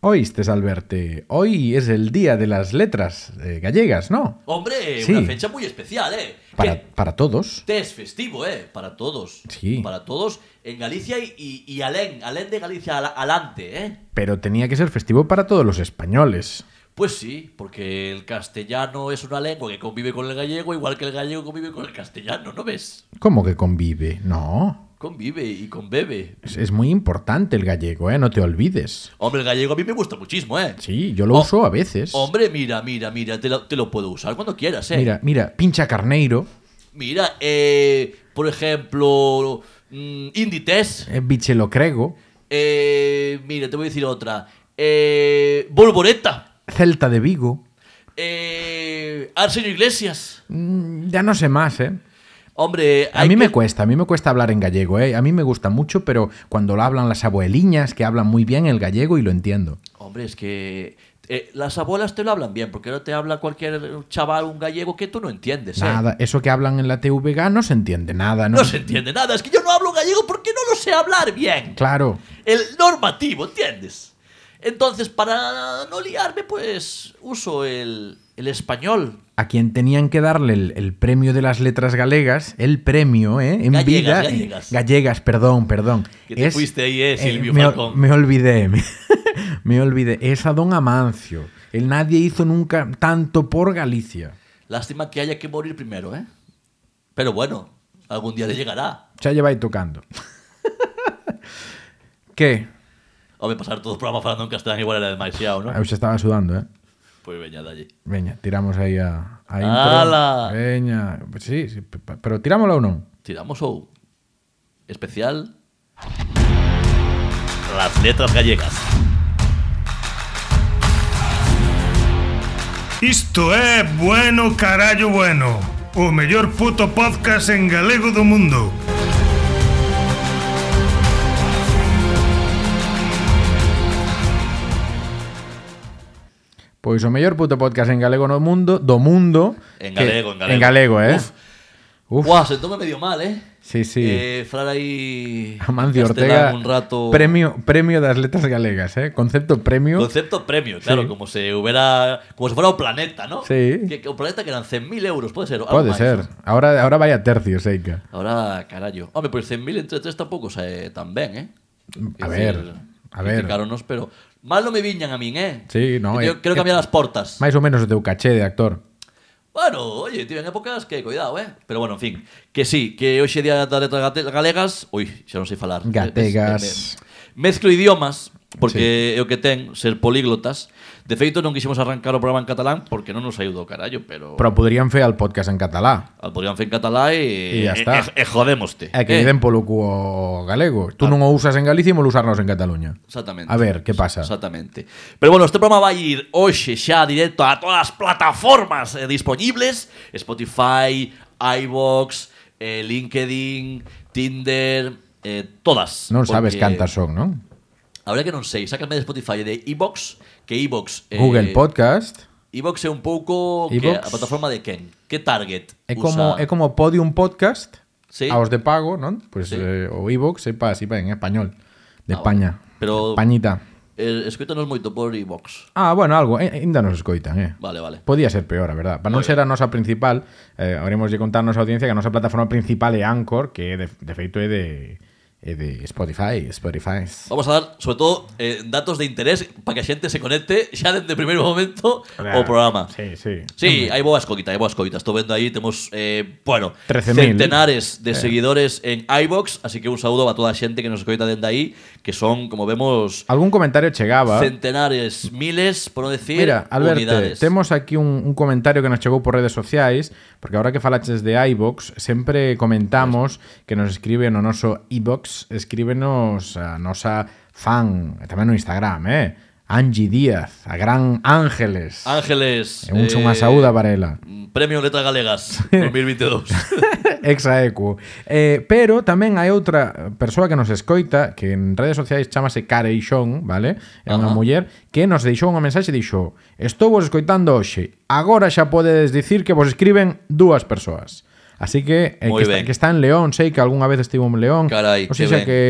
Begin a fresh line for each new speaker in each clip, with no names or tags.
Oíste, Alberte, hoy es el Día de las Letras eh, Gallegas, ¿no?
Hombre,
Sí.
una fecha muy especial, ¿eh?
Para,
Que
para todos.
te es festivo, ¿eh? Para todos.
Sí.
Para todos en Galicia y, y, y alén, alén de Galicia, ala- alante, ¿eh?
Pero tenía que ser festivo para todos los españoles.
Pues sí, porque el castellano es una lengua que convive con el gallego, igual que el gallego convive con el castellano, ¿no ves?
¿Cómo que convive? No.
Convive y conbebe.
Es, es muy importante el gallego, ¿eh? No te olvides.
Hombre, el gallego a mí me gusta muchísimo, ¿eh?
Sí, yo lo
Oh,
uso a veces.
Hombre, mira, mira, mira, te lo, te lo puedo usar cuando quieras, ¿eh?
Mira, mira, pincha carneiro,
Mira, eh, por ejemplo, mm, Inditex.
eh, bichelocrego,
Eh, mira, te voy a decir otra. Eh, Volvoreta.
celta de Vigo.
Eh, Arsenio Iglesias.
Mm, ya no sé más, ¿eh?
Hombre,
A
hay
mí me
que-
cuesta, a mí me cuesta hablar en gallego, ¿eh? A mí me gusta mucho, pero cuando lo hablan las abueliñas, que hablan muy bien el gallego y lo entiendo.
Hombre, es que eh, las abuelas te lo hablan bien, porque ahora te habla cualquier chaval, un gallego, que tú no entiendes. ¿eh?
Nada, eso que hablan en la TVG no se entiende nada, ¿no?
No se entiende nada. Es que yo no hablo gallego porque no lo sé hablar bien.
Claro.
El normativo, ¿entiendes? Entonces, para no liarme, pues uso el, el español.
A quien tenían que darle el, el premio de las letras galegas, el premio, ¿eh? En
Gallegas,
vida.
gallegas.
Gallegas, perdón, perdón.
Que te fuiste ahí, eh, Silvio
me,
Falcón.
me olvidé, me, me olvidé. Es a don Amancio. El nadie hizo nunca tanto por Galicia.
Lástima que haya que morir primero, ¿eh? Pero bueno, algún día le llegará.
Ya lleváis tocando. ¿Qué?
Hombre, pasar todos los programas hablando en castellano igual era demasiado, ¿no?
Ah, Se estaba sudando, ¿eh?
Pues veña de allí.
Veña, tiramos aí a, a impro.
Ala.
Veña, pues sí, sí, pe- pe- pero tirámola ou non?
Tiramos show. Especial. Las letras gallegas.
Isto é Bueno Carallo Bueno O mellor puto podcast en galego do mundo
Pois o mellor puto podcast en galego no mundo, do mundo.
En galego, en galego.
En galego, eh?
Uf.
Uf.
Guau, se toma medio mal, ¿eh?
Sí, sí.
Eh, Fran ahí.
Amancio
castelán
Ortega,
Un rato.
premio, premio das letras galegas, eh? Concepto premio.
Concepto premio, claro,
Sí.
como si hubiera. Como si fuera un planeta, ¿no?
Sí.
Que, que un planeta que eran 100.000 euros, puede ser. algo
Pode
máis, eh.
ser.
¿no?
Ahora, ahora vai a tercio, Seika.
Ahora, carallo. Hombre, pues 100.000 entre tres tampoco sé tan bien, ¿eh?
A
Es
ver,
decir,
a ver.
criticaronos, pero mal no me viñan a mí, ¿eh?
Sí, no,
Que
eh,
Yo quiero cambiar las portas.
Mais ou menos o teu caché de actor.
Bueno, oye, tiven épocas que cuidado, ¿eh? Pero bueno, en fin, que sí, que hoxe día das letras gate- galegas, ui, xa non sei falar.
Gategas.
Eh, eh, me- Mezclo idiomas porque é o que ten ser políglotas. De feito non quixemos arrancar o programa en catalán porque non nos ayudou, carallo, pero
Pero podrían fe al podcast en catalá.
al podrían fer en catalán e,
E ya
e-
está.
e- e jodémoste.
É que
eh? Ah.
lle den polo cuo galego. Tú non o usas en Galicia e molo usarnos en Cataluña.
Exactamente.
A ver, que pasa?
Exactamente. Pero bueno, este programa va a ir hoxe xa directo a todas as plataformas eh, disponibles. Spotify, iVox, eh, LinkedIn, Tinder, eh, todas.
Non sabes
Porque-
cantas son, non?
Ahora que non sei, sácame de Spotify e de iVox, que iVox... eh,
Google Podcast
iVox é un pouco que
iVox?
a plataforma de quen? Que target
é como
usa?
é como Podium Podcast
Sí.
aos de pago, non? Pois
Sí.
eh, o iVoox, sepa, así pa en español de
Ah,
España.
vale. Pero-
Españita.
Eh, escoítanos moito por iVox.
Ah, bueno, algo, eh, ainda nos escoitan, eh.
Vale, vale.
Podía ser peor, a verdad. Para non ser a nosa principal, eh, habremos de contar a nosa audiencia que a nosa plataforma principal é Anchor, que de, de feito é de é de Spotify, Spotify.
Vamos a dar, sobre todo, eh, datos de interés para que a xente se conecte xa dende o primeiro momento
Ah,
ao programa.
Sí, sí.
Sí, hai boas coquitas, hai boas coquitas. Estou vendo aí, temos, eh, bueno,
13.000.
centenares de seguidores en iBox, así que un saúdo a toda a xente que nos coita dende aí, que son, como vemos,
Algún comentario chegaba.
centenares, miles, por non decir,
Mira, Alberto,
unidades.
temos aquí un, un comentario que nos chegou por redes sociais, porque ahora que falaches de iVox, sempre comentamos que nos escriben o noso iVox, escríbenos a nosa fan, e tamén no Instagram, eh? Angie Díaz, a gran Ángeles.
Ángeles.
E
eh, mm,
un chunga saúda para ela.
Premio Letras Galegas 2022.
Exaequo. Eh, pero tamén hai outra persoa que nos escoita que en redes sociais chamase Careixón, vale? É unha
Ajá.
muller que nos deixou unha mensaxe e dixo Estou vos escoitando hoxe. Agora xa podedes dicir que vos escriben dúas persoas. Así que, eh,
Moi
que, está,
ben.
que está en León, sei que algunha vez estivo en León.
Carai,
o sea,
que ben.
que,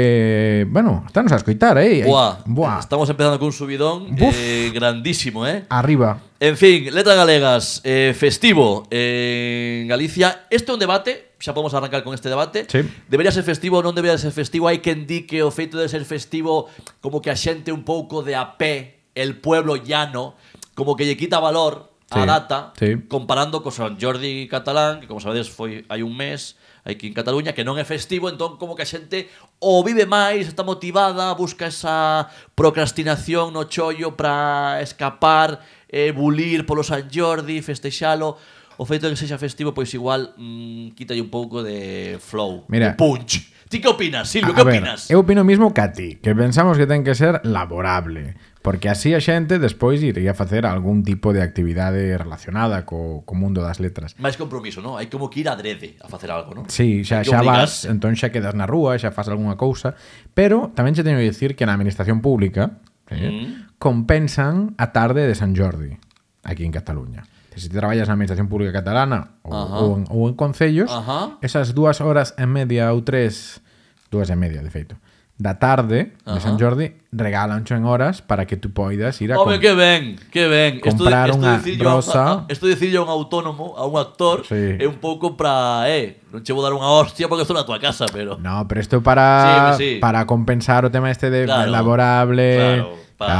bueno, estános a escoitar, eh.
Buah,
Buah.
Estamos empezando con un subidón
Buf.
eh, grandísimo, ¿eh?
Arriba.
En fin, letras galegas, eh, festivo eh, en Galicia. Este é un debate, xa podemos arrancar con este debate.
Sí.
Debería ser festivo ou non debería ser festivo? Hai quen di que o feito de ser festivo como que a xente un pouco de a pé, el pueblo llano, como que lle quita valor
Sí,
a data
sí.
comparando co San Jordi catalán, que como sabedes foi hai un mes aquí en Cataluña, que non é festivo, entón como que a xente o vive máis, está motivada, busca esa procrastinación no chollo para escapar, eh, bulir polo San Jordi, festexalo. O feito de que sexa festivo, pois igual mm, quítalle un pouco de flow,
Mira.
de punch. Ti que opinas, Silvio?
A-
Que
a ver,
opinas?
eu opino mismo que a ti, que pensamos que ten que ser laborable, porque así a xente despois iría facer algún tipo de actividade relacionada co, co mundo das letras.
Máis compromiso, non? Hai como que ir adrede a facer algo, non?
Sí, xa,
Hai que
xa vas,
obligarse.
entón xa quedas na rúa, xa fas algunha cousa, pero tamén che teño que dicir que na administración pública eh,
Mm.
compensan a tarde de San Jordi aquí en Cataluña. Se si te traballas na administración pública catalana ou,
Ajá.
ou, en, ou en concellos,
Ajá.
esas dúas horas e media ou tres, dúas e media, de feito, da tarde de San Jordi, regalancho en horas para que tú poidas ir a com-
Home, que ben, que ben.
comprar unha
yo a-
rosa.
a- Esto dicirlle a un autónomo, a un actor,
Sí.
é un pouco para, eh, non che vou dar unha hostia porque estou na tua casa, pero...
No, pero esto para,
Sí, sí.
para compensar o tema este de
Claro.
laborable.
Claro, pa-
Eh,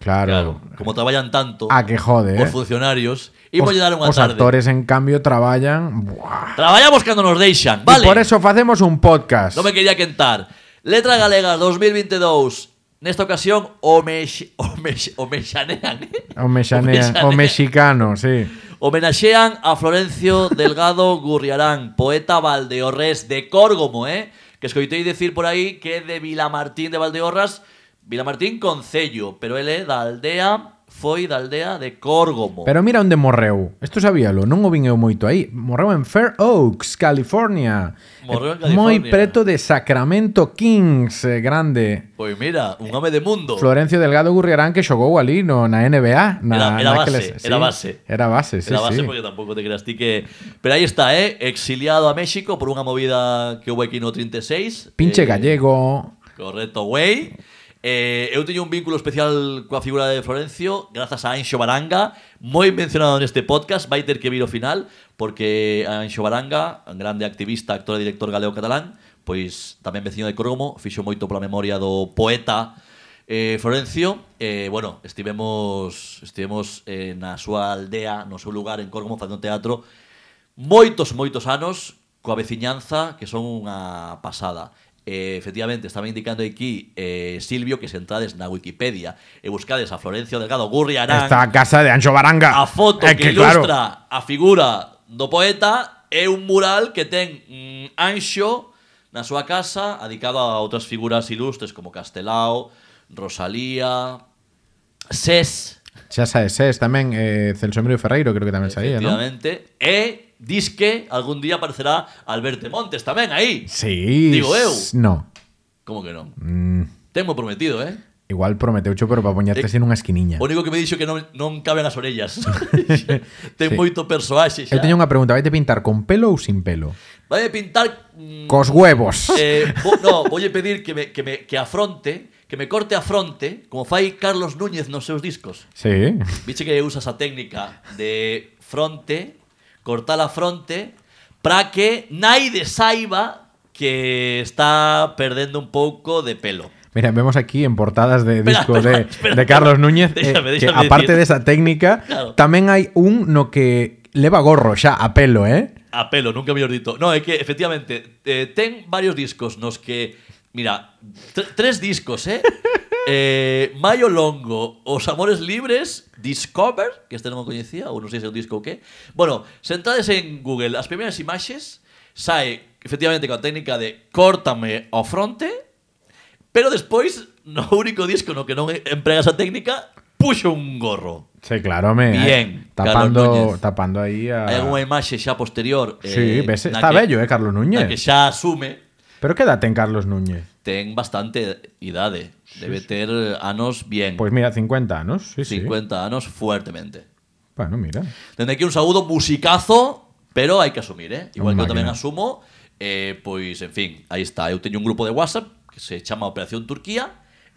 claro, claro.
Como traballan tanto
Ah, que jode,
os
eh.
funcionarios, imos lle dar unha
Os
tarde.
actores, en cambio, trabajan. Buah.
Traballamos cando nos deixan,
Y
vale?
por eso hacemos un podcast.
Non me quería quentar. Letra Galega 2022. Nesta ocasión, o, mex, o, mex, o mexanean, eh?
O, mexanea- o mexicano, sí.
Homenaxean a Florencio Delgado Gurriarán, poeta Valdeorres de Córgomo, eh? Que escoitei dicir por aí que é de Vilamartín de Valdeorras, Vilamartín Concello, pero ele é da aldea, foi da aldea de Córgomo.
Pero mira onde morreu. Esto sabíalo, non o vin eu moito aí. Morreu en Fair Oaks, California.
Morreu
Eh,
en
Moi
California.
preto de Sacramento Kings, eh, grande.
Pois mira, un home de mundo.
Florencio Delgado Gurriarán que xogou ali no, na NBA. Na,
Era- era
naqueles-
base, era base.
Era base, sí,
Era base
sí.
porque tampouco te creas ti que... Pero aí está, eh? Exiliado a México por unha movida que houve aquí no 36.
Pinche
eh,
gallego.
Correcto, güey. Eh, eu teño un vínculo especial coa figura de Florencio Grazas a Anxo Baranga Moi mencionado neste podcast Vai ter que vir o final Porque Anxo Baranga, un grande activista, actor e director galego-catalán Pois tamén vecino de Cromo Fixo moito pola memoria do poeta eh, Florencio eh, Bueno, estivemos, estivemos eh, na súa aldea No seu lugar en Corgomo facendo teatro moitos, moitos anos coa veciñanza que son unha pasada. Eh, efectivamente, estaba indicando aquí eh, Silvio que se entrades na Wikipedia e buscades a Florencio Delgado Gurriarán
Está a casa de Ancho Baranga.
a foto
É
que,
claro,
ilustra a figura do poeta é un mural que ten mm, Anxo na súa casa adicado a outras figuras ilustres como Castelao, Rosalía, Sés,
Xa saes, es tamén eh, Celso Emilio Ferreiro, creo que tamén saía, non?
Efectivamente. E disque algún día aparecerá Alberto Montes tamén aí.
Sí.
Digo eu.
No.
Como que non?
Mm,
Temo prometido, eh?
igual prometeucho, pero para poñerte
Eh,
sin unha esquiniña.
O único que me dixo que non, non caben as orellas. Ten
Sí.
moito persoaxe xa.
Eu teño unha pregunta, vaite pintar con pelo ou sin pelo?
Vai a pintar... mm,
Cos huevos.
eh, vo, no, voy a pedir que me, que me que afronte, que me corte a fronte, como fai Carlos Núñez nos seus discos.
Sí.
Viche que usa esa técnica de fronte, cortar a fronte, para que naide saiba que está perdendo un pouco de pelo.
Mira, vemos aquí en portadas de
Espera,
discos
espera,
de,
espera,
de Carlos Núñez eh,
Déxame,
que
déxame
aparte
decir.
desa técnica,
Claro.
tamén hai un no que leva gorro xa a pelo, eh?
A pelo, nunca mellor dito. No, é que efectivamente eh, ten varios discos nos que mira, tre- tres discos, eh? eh Mayo Longo, Os Amores Libres, Discover, que este non o coñecía, ou non sei se é un disco ou que. Bueno, se entrades en Google, as primeiras imaxes sae efectivamente coa técnica de córtame o fronte, pero despois no único disco no que non e- emprega esa técnica, puxo un gorro.
Sí, claro, me. eh,
Bien, Carlos
tapando
Núñez.
tapando aí a
Hai algunha imaxe xa posterior
Ah. Sí, ves,
na
está
que-
bello, eh, Carlos
na que
Núñez.
xa asume
Pero que edad ten Carlos Núñez?
ten bastante idade. Debe ter anos bien.
Pois mira, 50 anos. Pues Sí,
50 anos fuertemente.
sí. Bueno, mira.
Dende aquí un saúdo musicazo, Pero hai que asumir, eh? Igual que eu tamén
máquina.
asumo, eh, pois, en fin, aí está. Eu teño un grupo de WhatsApp que se chama Operación Turquía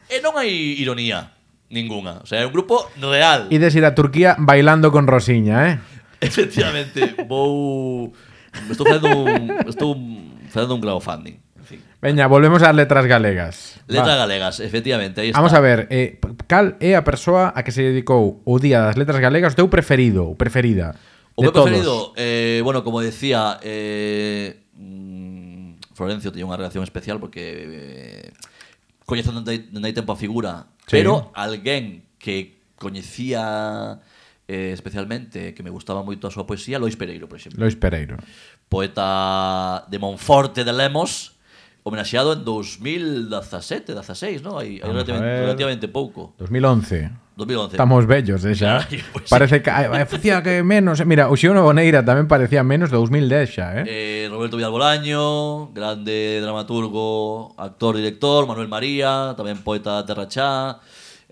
e non hai ironía ninguna. O sea, é un grupo real.
Ides ir a Turquía bailando con Rosiña, ¿eh?
Efectivamente, vou... Estou facendo un, estou facendo un crowdfunding. En fin.
Veña, volvemos ás letras galegas.
Letras
Va.
galegas, efectivamente, aí está.
Vamos a ver, eh, cal é a persoa a que se dedicou o Día das Letras Galegas o teu preferido, ou preferida? de
O meu
todos.
preferido, eh, bueno, como decía, eh, mm, Florencio tenía una relación especial porque eh, coñezo non dai, non dai tempo a figura,
Sí.
pero alguén que coñecía eh, especialmente, que me gustaba moito a súa poesía, Lois Pereiro, por exemplo.
Lois Pereiro.
Poeta de Monforte de Lemos, homenaxeado en 2017, 16, non? Hai, hai
Vamos a
relativamente,
ver.
relativamente pouco.
2011.
2011.
Estamos bellos, eh, xa.
Ay, pois sí.
Parece que eh, facía que menos, eh. mira, o Xiono Boneira tamén parecía menos 2010 xa, eh.
Eh, Roberto Villalbolaño, grande dramaturgo, actor, director, Manuel María, tamén poeta terrachá,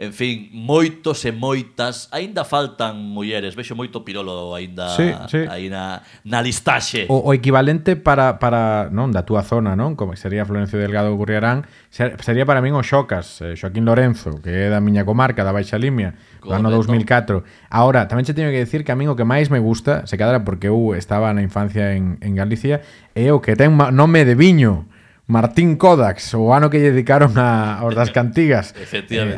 en fin, moitos e moitas, aínda faltan mulleres, vexo moito pirolo aínda
Sí, sí. Oh,
aí na, na listaxe.
O, o equivalente para, para non da túa zona, non? Como que sería Florencio Delgado Gurriarán, ser- sería para min o Xocas, eh, Xoaquín Lorenzo, que é da miña comarca, da Baixa Limia, do ano
Correcto.
2004. Ahora, tamén che teño que decir que a min o que máis me gusta, se cadra porque eu estaba na infancia en, en Galicia, é o que ten ma- nome de viño. Martín Kodax, o ano que lle dedicaron a aos das cantigas.
Efectivamente.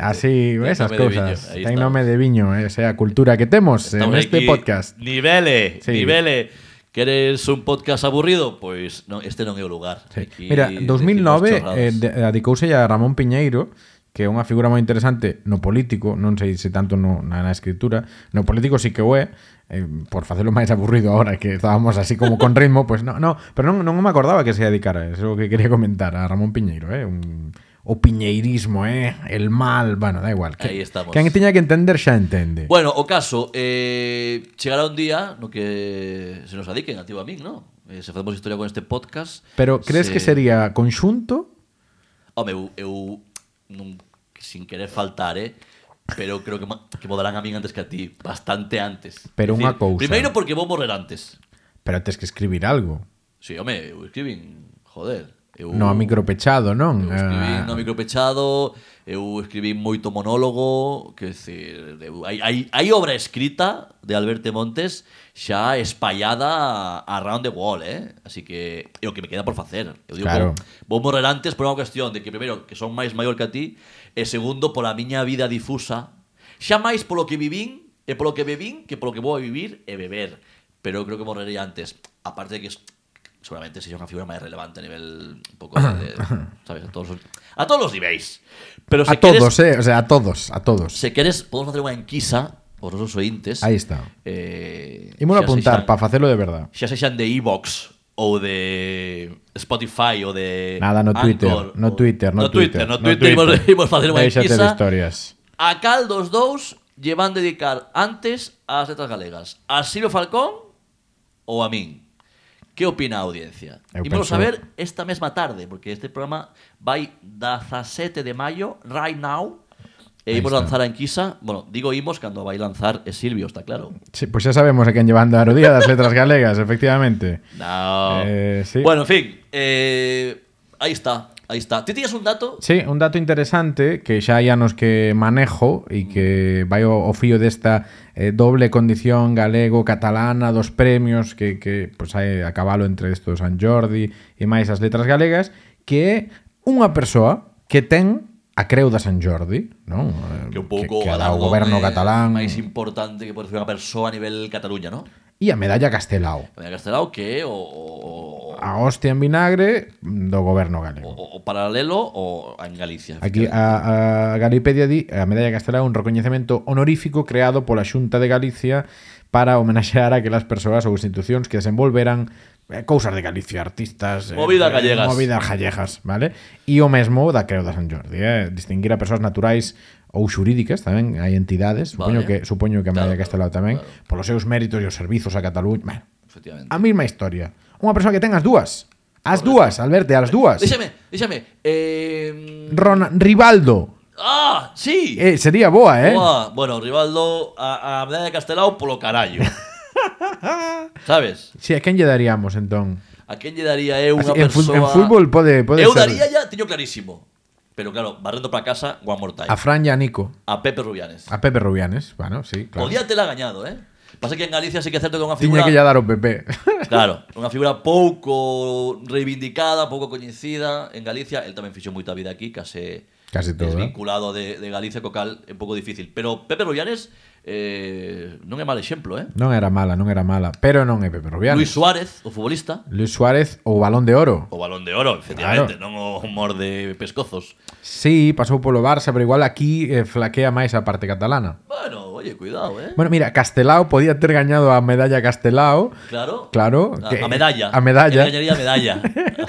Eh, así,
Ten
esas
nome de
cousas.
viño, aí
Ten
estamos.
nome de viño, eh, esa cultura que temos en
Estamos
este
aquí,
podcast.
Nivele,
Sí.
nivele. Queres un podcast aburrido? Pois non, este non é o lugar.
Sí.
Aquí
Mira,
decimos
2009
chorradas.
eh, de- dedicouse a Ramón Piñeiro que é unha figura moi interesante no político, non sei se tanto no, na, na escritura, no político sí que o é, eh, por facelo máis aburrido ahora que estábamos así como con ritmo, pues no, no, pero non, non me acordaba que se dedicara, é o que quería comentar a Ramón Piñeiro, eh, un, o piñeirismo, eh, el mal, bueno, da igual, que,
Aí estamos.
que a que teña que entender xa entende.
Bueno, o caso, eh, chegará un día no que se nos adiquen a ti ou a min, non? Eh, se facemos historia con este podcast...
pero crees
se-
que sería conxunto?
Home, eu, eu non, sin querer faltar, eh? Pero creo que, ma- que modarán a min antes que a ti, bastante antes.
Pero
É
unha
dicir,
cousa.
Primeiro porque vou morrer antes.
Pero tens que escribir algo.
Si, sí, home, eu escribin, joder. Eu,
No a micropechado, non?
Uh. Eu escribín
Ah.
no micropechado, eu escribín moito monólogo, que decir, eu, hai, hai, hai obra escrita de Alberto Montes xa espallada around the wall, eh? Así que é o que me queda por facer. Eu digo,
Claro.
vou, vou morrer antes por unha cuestión de que primeiro que son máis maior que a ti e segundo pola miña vida difusa, xa máis polo que vivín e polo que bebín que polo que vou a vivir e beber. Pero eu creo que morrerei antes. Aparte de que es- seguramente sexa unha figura máis relevante a nivel un pouco de, sabes, a todos os, a todos os niveis. Pero se
A
queres,
todos, eh, o sea, a todos, a todos.
se queres podemos facer unha enquisa os nosos ointes.
Aí está.
Eh,
Imos a
xa
apuntar
sexan-
para facelo de verdad.
Xa sexan de iVox ou de Spotify ou de
Nada, no Twitter,
Anchor,
no
ou-
Twitter, no, Twitter,
no Twitter, no Twitter. Imos facer unha
Déixate de
enquisa.
historias.
A cal dos dous lle van dedicar antes ás letras galegas? A Silvio Falcón ou a min? Que opina a audiencia?
Eu
Imos
penso-
saber esta mesma tarde, porque este programa vai 17 de maio, right now,
Aí
e imos
está.
lanzar a enquisa, bueno, digo imos cando vai lanzar é Silvio, está claro.
Sí, pues ya sabemos a quen llevando a día das letras galegas, efectivamente.
No.
Eh, sí.
Bueno, en fin, eh, aí está, aí está. Ti tiñas un dato?
Sí, un dato interesante que xa hai anos que manejo e que vai o, o fío desta eh, doble condición galego-catalana dos premios que, que pues, hai a cabalo entre estos San Jordi e máis as letras galegas que é unha persoa que ten a creu da San Jordi, non? Eh,
Que un pouco
que, que a dá o
galardón,
goberno
eh,
catalán
máis importante que pode ser unha persoa a nivel Cataluña, ¿no?
e a medalla Castelao.
María Castelao que é o, o,
a hostia en vinagre do goberno
o,
galego.
o paralelo o en Galicia.
Aquí a, a Galipedia di a medalla castelá é un recoñecemento honorífico creado pola Xunta de Galicia para homenaxear aquelas persoas ou institucións que desenvolveran eh, cousas de Galicia, artistas,
Movidas gallegas.
movidas gallegas, vale? E o mesmo da Creu da San Jordi, eh? distinguir a persoas naturais ou xurídicas tamén, hai entidades, supoño
Vale.
que supoño que a medalla
Claro,
Castelao tamén,
claro.
polos seus méritos e os servizos a Cataluña, bueno,
Efectivamente.
a mesma historia. Unha persoa que ten as dúas. As dúas, Alberto, as dúas.
Déxame, déxame. Eh,
Ron Rivaldo.
ah, sí.
Eh, sería boa, eh?
Ua, bueno, Rivaldo a, a medalla de Castelao polo carallo. Sabes?
Si, sí, a quen lle daríamos, entón?
A quen lle daría eh, eu
Así,
unha
en, fut-
persoa...
en fútbol pode, pode
eu
Eh, ser
daría ya, tiño clarísimo. Pero claro, barrendo para casa, one more time.
a
A,
Fran e a Nico.
Pepe Rubianes.
A Pepe Rubianes, bueno, sí, claro.
Podía tela gañado, eh? Pasa que en Galicia sí que é certo que é unha
Tiña
figura...
que lle dar o PP.
Claro, unha figura pouco reivindicada, pouco coñecida en Galicia. El tamén fixo moita vida aquí, case
Case todo, eh.
desvinculado de, de Galicia, co cal é un pouco difícil. Pero Pepe Rubianes eh, non é mal exemplo, eh?
non era mala, non era mala, pero non é Pepe
Luis
Rubianes.
Suárez, o futbolista,
Luis Suárez ou Balón de Oro.
o balón de oro, efectivamente, non o humor de pescozos.
Sí, pasou polo Barça, pero igual aquí eh, flaquea máis a parte catalana.
Bueno, oye, cuidado, eh?
Bueno, mira, Castelao podía ter gañado a medalla Castelao.
Claro.
Claro,
A,
que-
a medalla.
a medalla.
Él Gañaría a medalla. a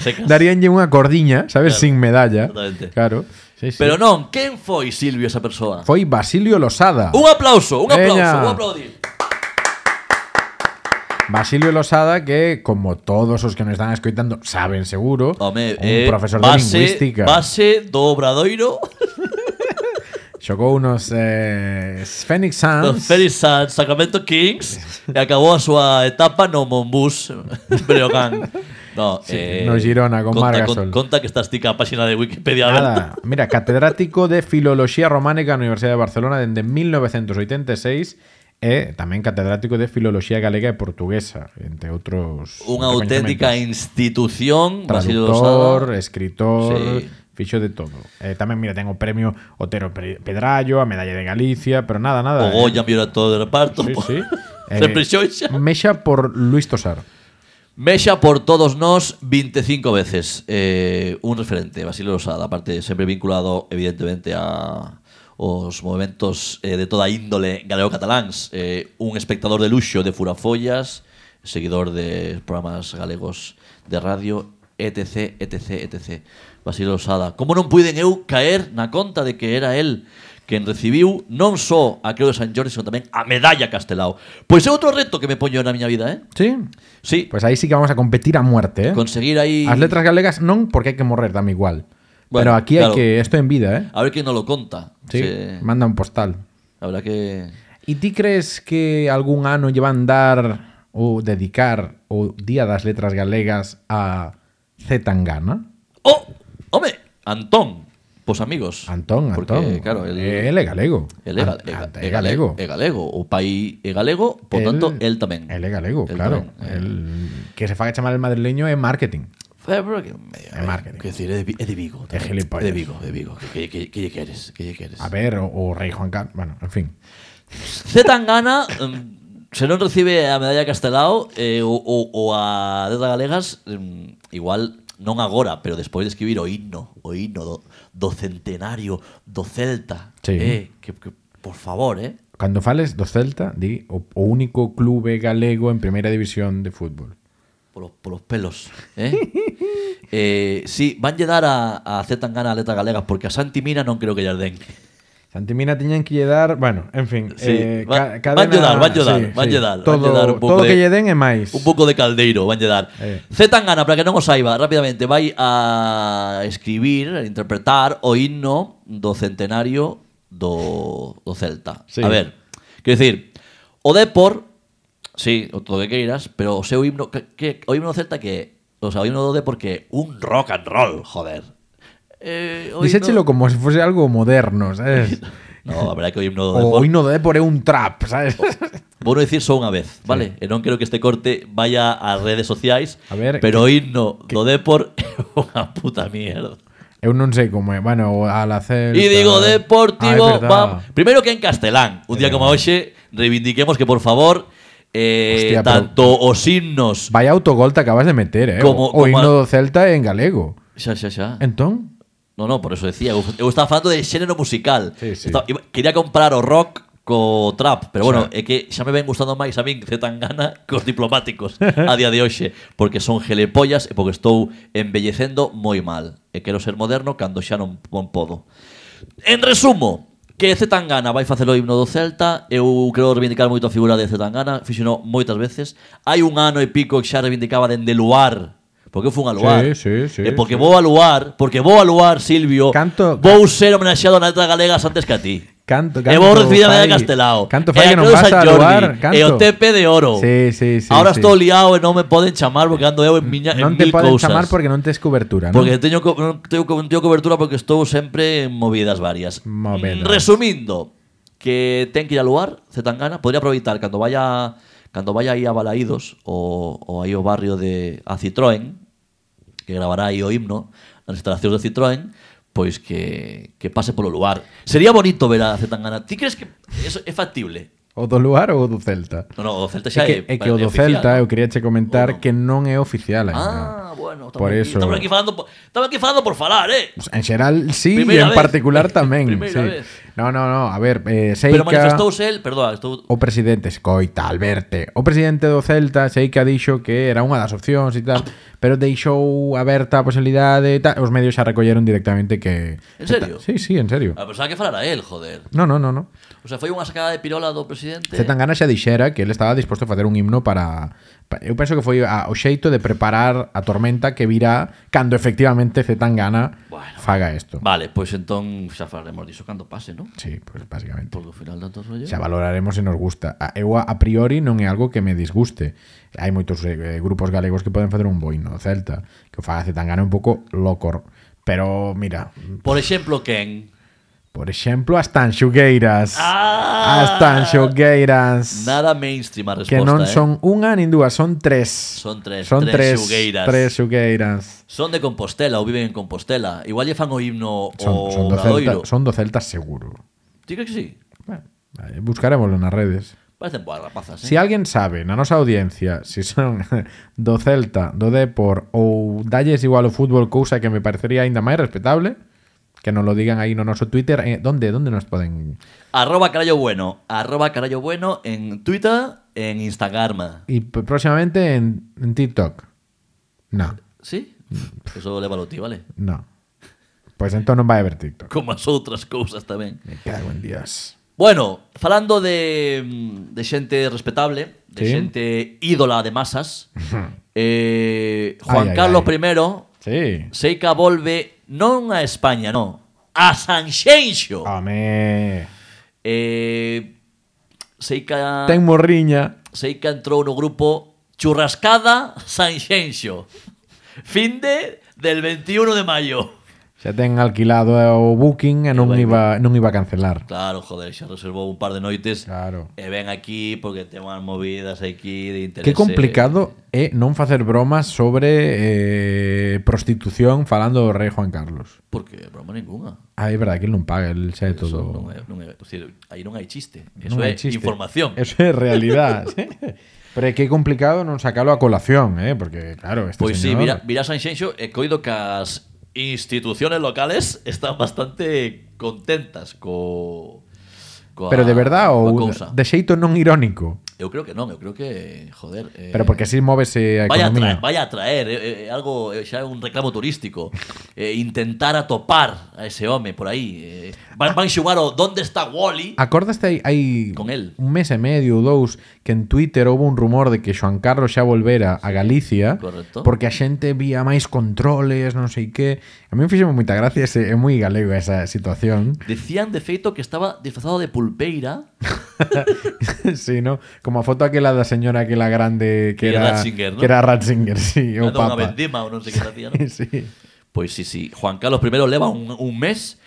secas.
Daríanlle unha cordiña, sabes, sin medalla.
exactamente.
Claro. Sí, sí.
Pero non, quen foi Silvio esa persoa?
foi Basilio Losada.
Un aplauso, un aplauso,
Veña.
un aplaudir.
Basilio Losada que, como todos os que nos están escoitando, saben seguro,
Home,
un
eh,
profesor
base,
de lingüística.
Base do Obradoiro,
Xogou unos eh, Phoenix Suns.
do Félix San Sacramento Kings, e acabou a súa etapa no Monbús, Breogán. No,
Sí,
eh,
no Girona, con
conta,
Margasol.
conta que estás tica a página de Wikipedia
Nada,
aberta.
mira, catedrático de Filoloxía Románica na Universidade de Barcelona dende 1986 e tamén catedrático de Filoloxía Galega e Portuguesa, entre outros
Unha auténtica institución, Basilio
traductor,
Losada.
escritor,
Sí.
fixo de todo. Eh, tamén, mira, ten o premio Otero Pe- Pedrallo, a medalla de Galicia, pero nada, nada. eh.
O Goya, mellora todo de reparto.
Sí, sí. Eh,
Sempre xoxa.
mexa por Luis Tosar.
Mexa por todos nós 25 veces. Eh, un referente, Basilio Losada, aparte sempre vinculado evidentemente a os movimentos eh, de toda índole galego-cataláns. Eh, un espectador de luxo de Furafollas, seguidor de programas galegos de radio, etc, etc, etc. Basilio Losada. Como non puiden eu caer na conta de que era el quen recibiu non só a Creu de San Jordi, sino tamén a medalla Castelao. Pois é outro reto que me poño na miña vida, eh?
Sí.
Sí,
Pois aí sí que vamos a competir a muerte, eh.
conseguir ahí.
As letras galegas non porque hai que morrer, dame igual.
Bueno,
Pero aquí
claro.
hai que esto en vida, eh.
A ver quién no lo conta.
Sí,
Se-
manda un postal.
La verdad que.
E ti crees que algún ano lle van dar ou dedicar o Día das Letras Galegas a Z Tangana?
¡Oh! ¡Hombre! Antón. Pues amigos.
Antón,
Porque,
Antón.
claro, el.
Él é galego.
el é ga-
Ant-
é ga-
Ant- é
é
galego.
É galego. O país é galego,
El-
por tanto, él tamén.
Él é galego,
El
claro.
tamén, eh.
El, que se faga chamar el madrileño é marketing.
Eh, pero que- eh,
É marketing.
Que decir, é de, Vi- é de Vigo. tamén.
gilipollas.
É de Vigo, é de Vigo. Que, que, que lle queres? Que lle queres?
A ver, o, o rei Juan Carlos, bueno, en fin.
Z Tangana em, se non recibe a medalla Castelao eh, ou, ou, ou a Letra Galegas em, igual non agora, pero despois de escribir o himno, o himno do, do centenario do Celta.
Sí.
Eh, que, que, por favor, eh.
Cando fales do Celta, di o, o único clube galego en primeira división de fútbol.
Polos, polos pelos, eh? eh sí, vanlle dar a, a Z Tangana a Letra Galegas porque a Santi Mina non creo que lle den.
Santimina tiñan que lle dar, bueno, en fin, eh,
Sí, va-
ca-
vanlle dar, vanlle dar,
sí, sí.
vanlle dar, vanlle
todo,
dar un
todo
pouco de-
que lle den é máis.
Un pouco de caldeiro, vanlle dar.
Eh.
Z Tangana, para que non o saiba, rapidamente vai a escribir, a interpretar o himno do centenario do, do Celta.
Sí.
A ver, quero dicir, o Depor, sí, o todo que queiras, pero o seu himno, que, que, o himno do Celta que é? O sea, o himno do Depor que é un rock and roll, joder. Eh, o
Dixéchelo
himno-
como se fose algo moderno, sabes?
No, a verdade é que o himno
o
do Depor...
himno do Depor é un trap, sabes?
Vou non dicir só unha vez, vale? E non quero que este corte vaya ás redes sociais,
A ver,
pero o himno do Depor é unha puta mierda.
Eu non sei como é, bueno, o a la Celta...
E digo
Ah, é verdad.
Deportivo,
Eh.
vam. Primeiro que en castelán, un día como hoxe, reivindiquemos que por favor eh,
Hostia, pero-
tanto os himnos,
Vaya autogol te acabas de meter, eh?
Como-
o
como
o himno
a-
do Celta é en galego.
xa xa xa.
Entón,
No, no, por eso decía, eu, eu estaba falando de xénero musical.
Sí, sí.
Estaba- iba- quería comparar o rock co trap, pero bueno,
Xa.
é que xa me ven gustando máis a min Z Tangana cos diplomáticos a día de hoxe, porque son gelepollas e porque estou embellecendo moi mal. E quero ser moderno cando xa non, non podo. En resumo, que Z Tangana vai facer o himno do Celta Eu creo reivindicar moito a figura de Z Tangana Fixino moitas veces Hai un ano e pico que xa reivindicaba dende Luar Porque eu fun a Luar
Sí, sí, sí,
E porque
sí.
vou a Luar Porque vou a Luar, Silvio
Canto-
Vou ser homenaxeado na letra galegas antes que a ti
Canto, canto.
E vou recibir a medalla de
fai-
Castelao.
Canto
e
fai que non vas a lugar. Canto.
E o Tepe de Oro.
Sí, sí, sí,
Ahora
sí.
estou liado e non me poden chamar porque ando eu en miña
Non
en
te
mil
poden
cousas.
chamar porque non tes cobertura, non?
Porque teño, co- non teño, co- non teño cobertura porque estou sempre en movidas varias.
Movedas.
Mm, Resumindo, que ten que ir a lugar, Zetangana, podría aproveitar cando vaya cando vaya aí a Balaídos o, o aí o barrio de a Citroën, que gravará aí o himno nas instalacións de Citroën, pois que, que pase polo lugar. Sería bonito ver a Zetangana. Ti crees que eso é factible?
O do lugar ou o do Celta?
No, no, o Celta
É
xa
que, é que o do
oficial,
Celta, eu
non?
quería che comentar
Ou non?
que non é oficial ainda.
Ah, bueno, estamos,
Por
aquí,
eso.
estamos aquí falando por, estamos aquí falando por falar, eh.
Pues, En xeral sí, e
Primeira
en
vez.
particular tamén.
Primeira
sí.
vez.
No, no, no, a ver, eh, Seica...
Pero manifestouse el, perdón, estou
O presidente, escoita, Alberte. O presidente do Celta, Seica dixo que era unha das opcións e tal, pero deixou aberta a posibilidade e tal. Os medios xa recolleron directamente que...
En serio?
Sí, sí, en serio.
A pensaba que falara él, joder.
No, no, no, no.
O sea, foi unha sacada de pirola do presidente.
Zetangana xa dixera que ele estaba disposto a facer un himno para, pa- Eu penso que foi a, o xeito de preparar a tormenta que virá cando efectivamente Zetangana
Bueno.
faga isto.
Vale, pois entón xa falaremos diso cando pase, non?
Sí, pues básicamente.
Porque ao final tanto rollo.
Xa valoraremos se nos gusta. A, eu a, a priori non é algo que me disguste. Hai moitos eh, grupos galegos que poden facer un boino celta, que o faga Zetangana un pouco locor. Pero, mira,
Por exemplo, quen?
por exemplo, as tanxugueiras.
Ah!
as tanxugueiras.
Nada mainstream a resposta,
Que non
eh?
son unha nin dúas, son tres.
Son tres,
Son tres,
tres xugueiras.
Tres xugueiras.
Son de Compostela ou viven en Compostela. Igual lle fan o himno
Son,
o
son, do celta,
Obradoiro.
son do celtas seguro.
Ti crees que sí?
Bueno, eh, buscarémoslo nas redes.
Parecen boas rapazas,
Si
eh?
alguén sabe na nosa audiencia si son do Celta, do Depor ou dalles igual o fútbol cousa que me parecería aínda máis respetable, que nos lo digan aí no noso Twitter, eh, donde donde nos poden
Arroba carallo bueno. Arroba carallo bueno en Twitter, en Instagram.
e p- próximamente en, en TikTok. No,
¿Sí?
Mm.
Eso lévalo ti, vale?
no. Pois entón non vai haber TikTok.
Como as outras cousas tamén.
Me cago en Dios.
Bueno, falando de, mm, de xente respetable, de
Sí.
xente ídola de masas, eh, Juan
Ai, ai,
Carlos
ai.
I
Sí.
Seica volve non a España, non, a Sanxenxo.
Ah. Home.
Eh, Seica,
Ten morriña.
Seica entrou no grupo Churrascada Sanxenxo. Fin de del 21 de maio.
Xa ten alquilado o booking e non
vai,
iba non iba a cancelar.
Claro, joder, xa reservou un par de noites.
Claro.
E ven aquí porque ten unhas movidas aquí de interese.
Qué complicado é
eh,
non facer bromas sobre eh, prostitución falando do rei Juan Carlos.
Porque broma ninguna.
Ah, é verdade que ele non paga, el xa é
Eso
todo.
non é, non é, o sea, aí non hai chiste. Eso
non
é
hai chiste.
información.
Eso é realidad. sí. Pero é que é complicado non sacalo a colación, eh, porque claro, este
pois sí,
señor
mira, mira Sanxenxo e coido que as instituciones locales están bastante contentas co coa,
Pero de verdade
coa
ou
cousa.
de xeito non irónico,
Eu creo que non, eu creo que joder, eh,
pero porque así móvese a
Vaya a
economía.
traer, vaya a traer eh, eh, algo, eh, xa é un reclamo turístico. Eh, intentar atopar a ese home por aí. Eh, van, van xugar o ¿Dónde está Wally?
Acordaste hai, hai
Con el.
un mes e medio ou dous que en Twitter houve un rumor de que Xoan Carlos xa volvera a Galicia
correcto.
porque a xente vía máis controles, non sei que. A mí me fixo moita gracia, ese, é moi galego esa situación.
Decían de feito que estaba disfrazado de pulpeira.
sí, no? Como a foto aquela da señora aquela grande que
Que
era
Ratzinger, ¿no?
que era Ratzinger, sí, o
Era unha
papa.
vendima ou non sei que facía, non?
sí.
Pois Pues sí, sí. Juan Carlos I leva un, un mes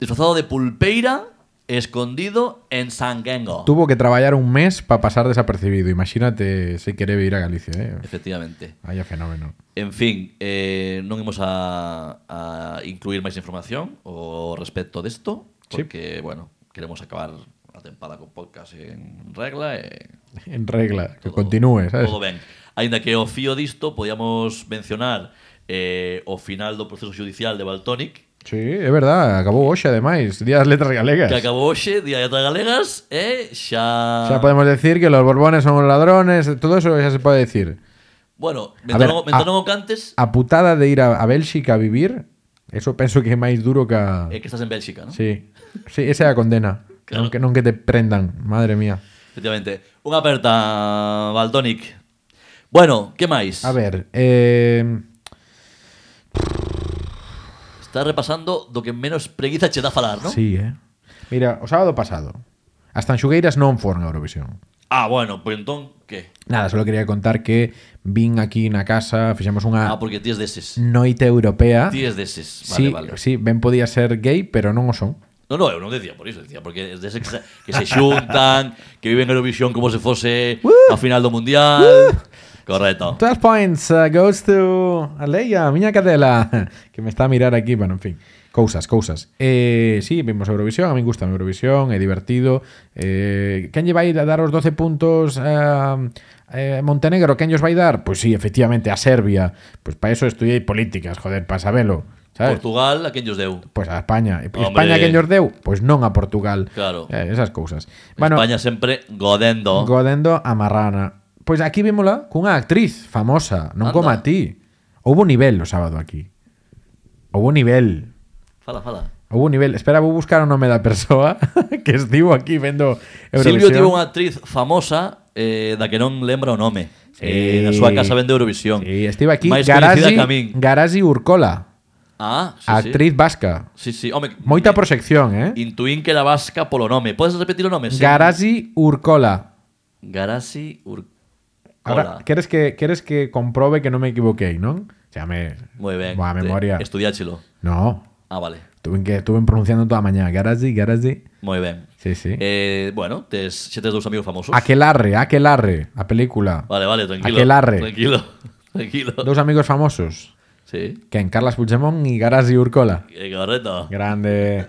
disfrazado de pulpeira escondido en Sanguengo.
Tuvo que traballar un mes para pasar desapercibido. Imagínate se quere vir a Galicia, eh.
Efectivamente.
Vaya fenómeno.
En fin, eh, non imos a, a incluir máis información o respecto desto,
Sí.
porque, bueno, queremos acabar a tempada con podcast en regla e
En regla, que
todo-
continúe, sabes?
Todo ben. Ainda que o fío disto, podíamos mencionar eh, o final do proceso judicial de Baltónic,
Sí, é verdad, acabou hoxe ademais, Día das Letras Galegas.
que acabou hoxe, Día de Letras Galegas, e xa...
Xa podemos decir que los Borbones son os ladrones, todo eso xa se pode decir.
Bueno,
A ver, ah. a-
mentre non o cantes,
A putada de ir a, a Bélxica a vivir, eso penso que é máis duro que a...
é eh, que estás en Bélxica, non?
Sí. Sí, esa é a condena. Non,
Claro.
que, non que te prendan, madre mía.
Efectivamente. Unha aperta, Baltónic. Bueno, que máis?
A ver, eh,
Estás repasando do que menos preguiza che dá falar, non?
sí, eh. Mira, o sábado pasado, as tanxugueiras non foron a Eurovisión.
Ah, bueno, pues entón, que?
Nada, solo quería contar que vin aquí na casa, fixemos
Ah,
unha
porque ti es deses.
noite europea.
Ti es deses. Vale,
sí,
vale.
sí, ben podía ser gay, pero non o son.
No, no, eu non decía por iso, decía porque es deses que se, que se xuntan, que viven Eurovisión como se fose a final do Mundial. Correcto.
12 points uh, goes to Aleia, a miña cadela, que me está a mirar aquí, bueno, en fin. Cousas, cousas. Eh, sí, vimos Eurovisión, a mí gusta Eurovisión, é divertido. Eh, quen lle vai a dar os 12 puntos a eh, Montenegro? Quen lles vai dar? Pois sí, efectivamente, a Serbia. Pois para eso estudiei políticas, joder, para sabelo. ¿sabes?
Portugal, a quen os deu?
Pois a España. E
Hombre.
España quen lles deu? Pois non a Portugal.
Claro.
Eh, esas cousas. Bueno,
España sempre godendo.
Godendo a Marrana. Pois aquí vémola cunha actriz famosa, non
Anda.
como a ti. Houbo nivel o sábado aquí. Houbo nivel.
Fala, fala.
Houbo nivel. Espera, vou buscar o nome da persoa que estivo aquí vendo
Silvio
Eurovisión.
tivo unha actriz famosa eh, da que non lembra o nome.
Sí.
Eh, na súa casa vende Eurovisión.
Sí, estive aquí
Máis
Garasi,
coñecida que a min.
Garasi Urcola,
Ah, sí,
actriz vasca.
Sí, sí. sí. Home,
Moita proxección, eh?
Intuín que era vasca polo nome. Podes repetir o nome? Sí.
Garasi Urcola.
Garasi Urcola.
Ahora, queres que queres que comprobe que non me equivoquei, non? Xa me
Moi ben.
Boa
Te-
memoria.
Estudiáchelo.
No,
Ah, vale.
tuve que tuve pronunciando toda a mañá. Garasi, Garasi.
Moi ben.
Sí, sí.
Eh, bueno, tes, xe tes dous amigos famosos.
Aquelarre, Aquelarre, a película.
Vale, vale, tranquilo.
Aquelarre.
Tranquilo. Tranquilo.
Dos amigos famosos.
Sí.
Ken, Carlas Puigdemont y Garasi Urcola.
Eh, correcto.
Grande.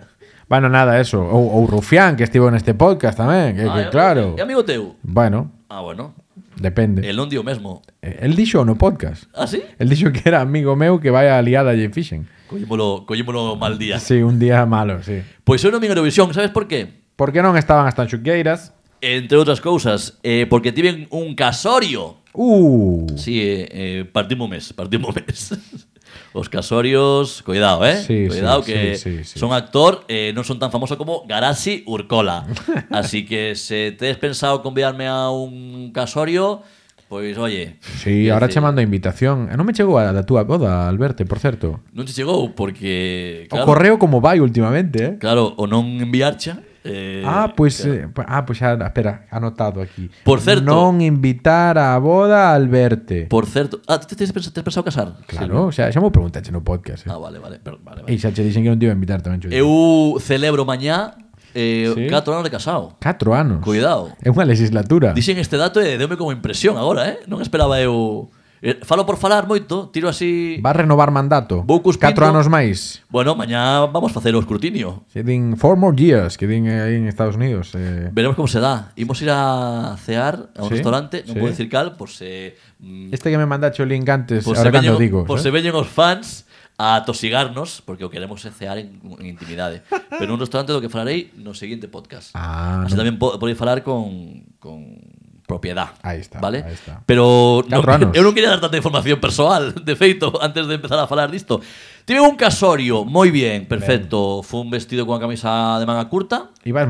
Bueno, nada, eso. Ou, ou Rufián, que estivo neste podcast tamén, que, que Eh,
Ah,
claro.
E amigo teu.
Bueno,
Ah, bueno.
depende.
El non dio mesmo.
Eh, El dixo no podcast.
Ah, sí?
El dixo que era amigo meu que vai a liada lle fixen.
Collémolo, collémolo mal día. Pues
Sí, un día malo, sí.
Pois eu non vin Eurovisión, sabes por qué?
Por que non estaban as tanxugueiras?
Entre outras cousas, eh, porque tiven un casorio.
Uh,
Sí, eh, eh, partimos mes, partimos mes. Os casorios, cuidado, eh?
Sí, sí,
cuidado
sí,
que
sí, sí.
son actor, eh, non son tan famoso como Garasi Urcola. Así que se tes pensado convidarme a un casorio, pois oye.
sí,
quer
ahora
dicir,
che mando a invitación. Eh, Non me chegou a da túa boda, Alberto, por certo.
Non te chegou
O
porque claro,
correo como vai últimamente, eh?
claro, o non enviarcha. Eh,
Ah, pois, eh, pa- ah, pois xa, espera, anotado aquí.
Por certo-
Non invitar á boda al verte.
Por certo, ah, ti tes, pens- tes pensado casar?
Claro, xa, xa mo preguntaxe no podcast. Eh.
Ah, vale, vale, pero- vale, vale.
E xa che dixen que non te iba a invitar tamén, Chuy.
Eu celebro mañá eh,
Eh, Sí.
4 anos de casado.
4 anos.
Cuidado.
É unha legislatura.
Dixen este dato e deume como impresión agora, eh? Non esperaba eu... eh, Falo por falar moito, tiro así...
Va a renovar mandato.
Vou cuspindo.
4 anos máis.
Bueno, mañá vamos facer o escrutinio.
Que din 4 more years que din eh, aí en Estados Unidos. Eh.
Veremos como se dá. Imos ir a cear a un
Sí,
restaurante,
sí.
non podo dicir cal, por se... mm,
Este que me mandaxe o link antes,
Por se,
ahora
veñen,
cando digo.
por
eh.
se veñen os fans a tosigarnos, porque o queremos é cear en, en intimidade. Pero un restaurante do que falarei no seguinte podcast.
Ah,
Así
no.
tamén po podéis falar con, con propiedad.
Ahí está,
¿Vale?
ahí está.
Pero
Catro
non-
anos.
eu non quería dar tanta información persoal, de feito, antes de empezar a falar disto. Tive un casorio, moi bien, perfecto. Fue un vestido con camisa de manga curta.
Ibas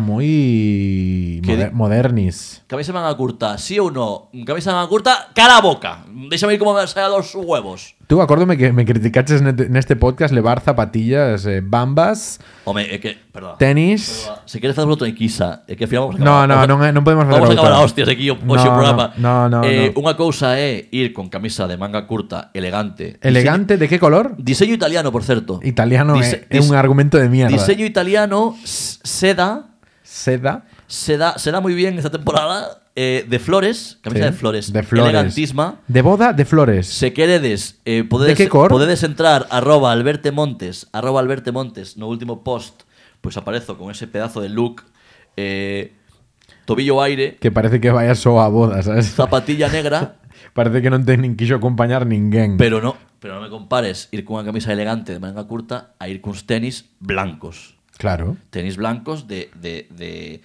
moi
Que
moder-
di-
modernis.
Camisa de manga curta, sí ou no? Camisa de manga curta, cara a boca. Déxame ir como me saia dos huevos.
Tú acórdome que me criticaches nete- neste este podcast levar zapatillas eh, bambas,
Home, é que, perdón.
tenis.
Se queres facer outro en Kisa, é que ao final vamos
No,
acabar.
no,
vamos,
non é- non podemos facer
Vamos a acabar a
outra.
hostias aquí o-
No,
hoxe o programa.
no, no, no,
eh,
no.
Unha cousa é ir con camisa de manga curta, elegante.
Elegante, de que color?
Diseño, diseño italiano, por certo.
Italiano
Dise-
é, é un
dis-
argumento de mierda.
Diseño italiano s- seda,
Seda.
seda, seda moi bien esta temporada eh, de flores,
sí,
camisa de flores,
De flores.
elegantisma.
De boda, de flores.
Se queredes, eh, podedes,
¿De qué cor?
podedes entrar arroba Alberte Montes, arroba Alberte Montes, no último post, pues aparezo con ese pedazo de look, eh, tobillo aire,
Que parece que vaya só a boda, sabes?
zapatilla negra,
Parece que non ten nin quixo acompañar ninguén.
pero no, pero no me compares ir con una camisa elegante de manga curta a ir con unos tenis blancos.
Claro.
Tenis blancos de, de, de...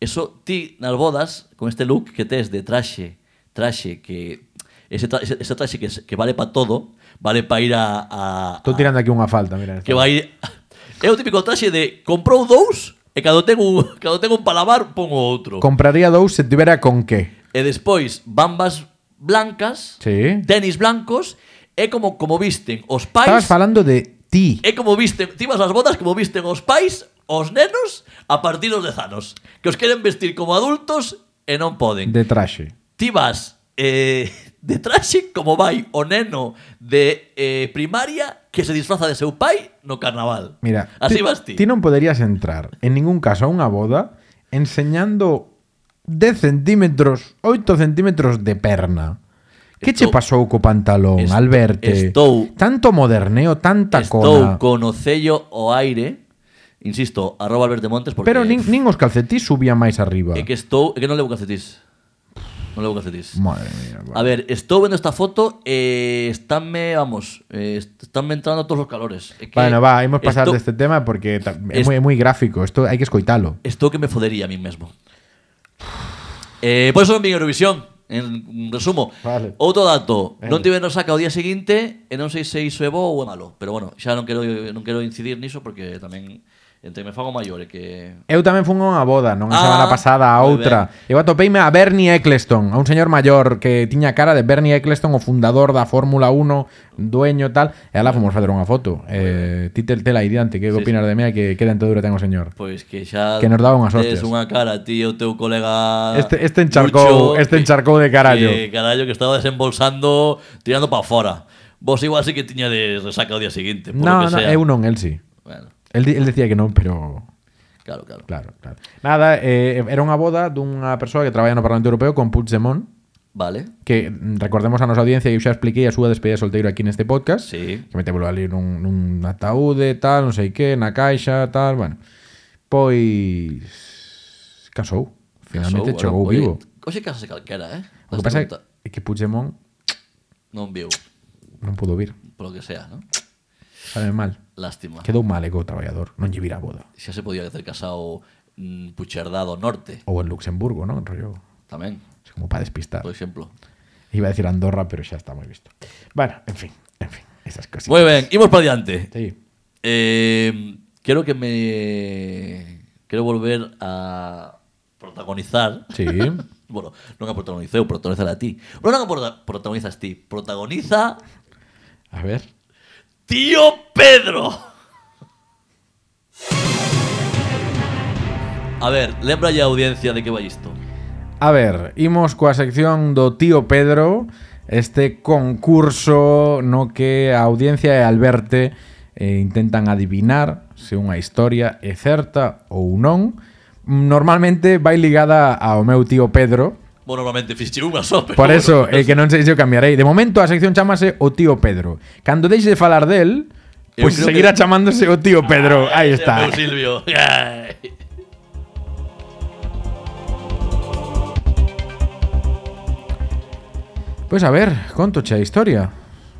Eso, ti, nas bodas, con este look que tes de traxe, traxe que... Ese, tra- ese- ese traxe que, es- que vale para todo, vale para ir a... a-
Estou
a-
tirando aquí unha falta, mira.
que vai É o típico traxe de comprou dous e cando ten un, cando ten un palabar pongo outro.
Compraría dous se tivera con que.
E despois bambas blancas,
Sí.
tenis blancos, é como como visten os pais.
Estabas falando de ti.
É como visten, ti vas as botas como visten os pais os nenos a partir dos dezanos, que os queren vestir como adultos e non poden.
De traxe.
Ti vas eh, de traxe como vai o neno de eh, primaria que se disfraza de seu pai no carnaval.
Mira, ti-
así vas ti.
Ti non poderías entrar en ningún caso a unha boda enseñando 10 centímetros, 8 centímetros de perna. Que che
Estou-
pasou co pantalón,
est-
Alberto?
estou-
Tanto moderneo, tanta
Estou
cona.
con o cello o aire, insisto, arroba Alberto Montes porque
Pero nin, nin os calcetís subían máis arriba.
é que estou, é que non levo calcetís. Non levo calcetís.
Madre mía. va.
A ver, estou vendo esta foto e estánme, vamos, eh, est- estánme entrando todos os calores. É que
Bueno, va, hemos pasado este-
estou-
deste tema porque ta- é
est-
moi, é moi gráfico, isto hai que escoitalo.
Estou que me fodería a mí mesmo. Eh, por eso non vin Eurovisión, en resumo.
Vale.
Outro dato,
Venga.
non tiveron saca o día seguinte e non sei se iso é bo ou é malo, pero bueno, xa non quero non quero incidir niso porque tamén entre me fago maior e que
Eu tamén fun a unha boda, non a
Ah,
semana pasada, a
moi
outra. Eu atopeime a Bernie Eccleston, a un señor maior que tiña cara de Bernie Eccleston, o fundador da Fórmula 1, dueño tal, e ala fomos facer unha foto. Eh, ti tel, tel aí diante, que
Sí,
opinas de mí e que, que dentadura ten o señor?
pois Pues que xa
Que nos daba unhas
tes
hostias.
unha cara, ti e o teu colega
Este- este encharcou- este
Ah, que-
encharcou de carallo.
Que, carallo que estaba desembolsando, tirando para fora. Vos igual sí que tiña de resaca o día seguinte, por
No,
lo
no,
que sea.
eu non, el sí.
Bueno,
El, di- el decía que non, pero
claro, claro.
claro, claro. Nada, eh, era unha boda dunha persoa que traballa no Parlamento Europeo con Puigdemont,
Vale.
que mm, recordemos a nosa audiencia, eu xa expliquei a súa despedida de solteiro aquí neste podcast.
Sí.
que metémolo ali nun, nun ataúde, tal, non sei que, na caixa, tal, bueno. Pois casou. Finalmente
Casou,
chegou vivo.
bueno, pues, Oye, hoxe casase calquera, eh?
O que
Das
pasa
pregunta.
é que Puigdemont
Non viu,
non pudo vir,
polo que sea, ¿no?
sabe mal.
Lástima.
Quedou mal eco o traballador, non lle vira a boda.
Xa se podía hacer casado mm, Pucherdado Norte,
Ou en Luxemburgo, non? Rollo,
tamén,
es como para despistar.
por exemplo.
Iba a decir Andorra, pero xa está moi visto. Bueno, en fin, en fin, esas cosas.
Moi ben, imos para diante.
Sí.
Eh, quiero que me... Quero volver a protagonizar...
Sí.
bueno, non a protagonizar, protagoniza a ti. Bueno, non a prota- protagonizas ti, protagoniza
A ver.
Tío Pedro. A ver, lembra a audiencia de que vai isto.
A ver, imos coa sección do tío Pedro Este concurso no que a audiencia e Alberte eh, intentan adivinar se unha historia é certa ou non Normalmente vai ligada ao meu tío Pedro
Bueno, normalmente fixe unha só, pero
Por
bueno.
eso, é que non sei se o cambiarei De momento a sección chamase o tío Pedro Cando deixe de falar del
Eu
Pois
creo
seguirá
que- Ah,
chamándose o tío Pedro Aí
Ese é
está
meu Silvio. Ai.
Pois Pues a ver, conto a historia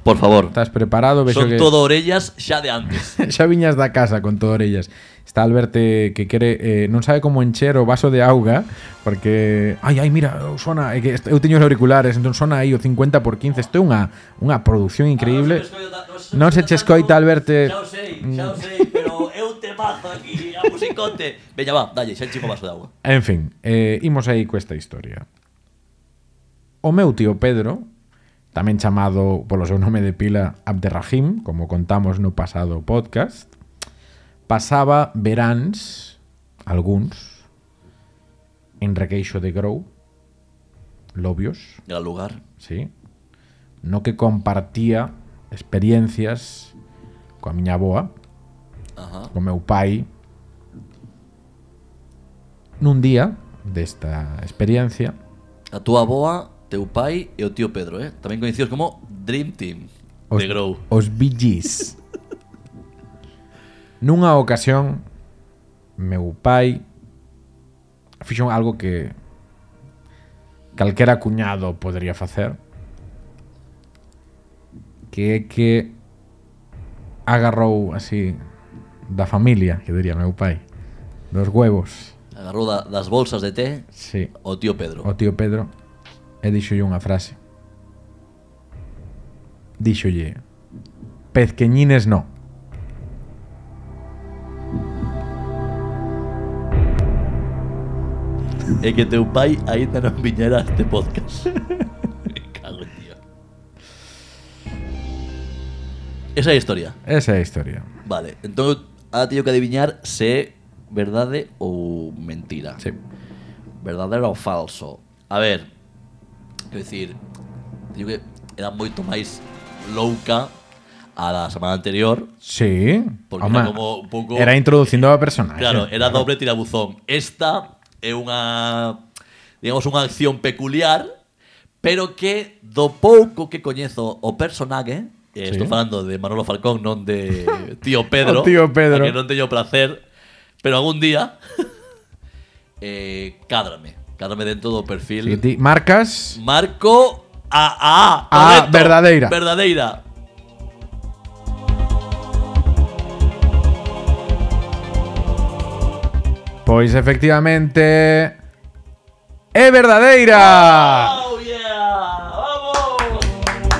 Por favor.
Estás preparado? Vexo
Son
Pues que...
todo orellas xa de antes.
xa viñas da casa con todo orellas. Está Alberte que quere eh, non sabe como encher o vaso de auga porque ai ai mira, eu sona, é que est- eu teño os auriculares, entón sona aí o 50 por 15, isto é unha unha produción increíble. Non se che escoita Alberte.
Xa o sei, xa o sei, pero eu te mazo aquí a musicote. Veña, va, dalle, xa chico vaso de agua.
En fin, eh, imos aí cuesta historia. O meu tío Pedro, tamén chamado polo seu nome de pila Abderrahim, como contamos no pasado podcast, pasaba veráns, algúns, en Requeixo de Grou, Lobios,
Gran lugar.
sí, no que compartía experiencias coa miña boa,
Ajá.
co meu pai nun día desta experiencia
A túa boa, teu pai e o tío Pedro, eh? Tamén coñecidos como Dream Team de Grow.
os Bee Gees. Nunha ocasión meu pai fixo algo que calquera cuñado podría facer que é que agarrou así da familia, que diría meu pai, dos huevos,
Agarrou da, das bolsas de té
sí,
o tío Pedro.
o tío Pedro e dixolle unha frase. Dixolle, pezqueñines no.
E que teu pai aínda non viñera a este podcast. Me cago, en tío. Esa é a historia.
Esa é a historia.
Vale, entón eu- ha tenido que adivinar se é verdade ou mentira.
Sí.
Verdadeiro ou falso. A ver, quero dicir, digo que era moito máis louca a da semana anterior.
Sí.
Porque
Home,
era como un pouco-
Era introducindo a personaxe.
Claro, era doble tirabuzón. Esta é unha, digamos, unha acción peculiar, pero que do pouco que coñezo o personaje, eh,
Sí.
estou falando de Manolo Falcón, non de tío Pedro,
O tío Pedro.
a que non teño placer, pero algún día eh, cádrame, cádrame dentro do
Sí,
perfil.
ti- marcas.
Marco a
A,
a
Ah,
correcto.
verdadeira.
Verdadeira.
Pois pues efectivamente. É verdadeira!
Oh yeah. Vamos.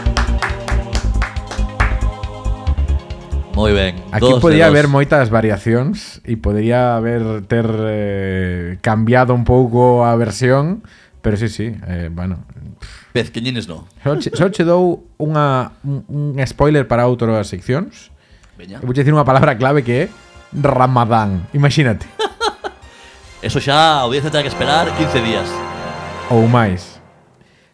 Moi ben.
Aquí
dos
podía
de dos.
haber moitas variacións e podría haber ter eh, cambiado un pouco a versión, pero sí, sí, eh, bueno,
Pezqueñines no.
Só che, só che dou unha, un, un spoiler para outras seccións.
Veña.
E vou dicir unha palabra clave que é Ramadán. Imagínate.
Eso xa a audiencia terá que esperar 15 días.
Ou máis.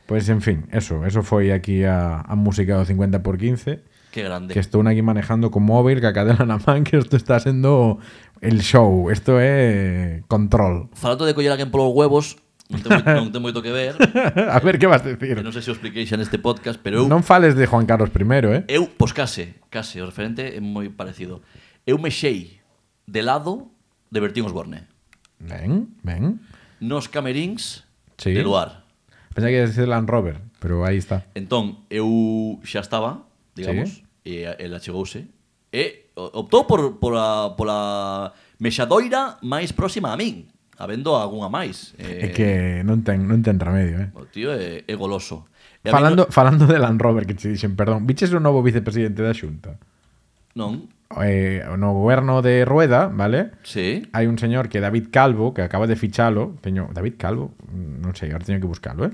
Pois, en fin, eso. Eso foi aquí a, a música do 50 por 15
Que grande.
Que estou aquí manejando con móvil, que a cadela na man, que isto está sendo el show. Isto é control.
Falando de coller alguén polos huevos, non ten, moi- non ten moito que ver. que
a ver que vas dicir.
non sei se o expliquei xa neste podcast, pero eu
Non fales de Juan Carlos I, eh?
Eu, pois case, case, o referente é moi parecido. Eu mexei de lado de Bertín Osborne.
Ben, ben.
Nos cameríns
Sí.
de Luar.
Pensaba que ia dicir Land Rover, pero aí está.
Entón, eu xa estaba, digamos, sí. e ela chegouse e o- optou por, por a, pola mexadoira máis próxima a min, habendo algunha máis.
É
Eh,
que non ten, non ten remedio, eh?
O tío é, é goloso. E a min
Falando, falando de Land Rover, que te dixen, perdón, viches o novo vicepresidente da Xunta?
Non,
Eh, no goberno de Rueda, vale?
sí.
Hai un señor que é David Calvo, que acaba de fichalo, teño, David Calvo, Mm, non sei, agora teño que buscalo, eh?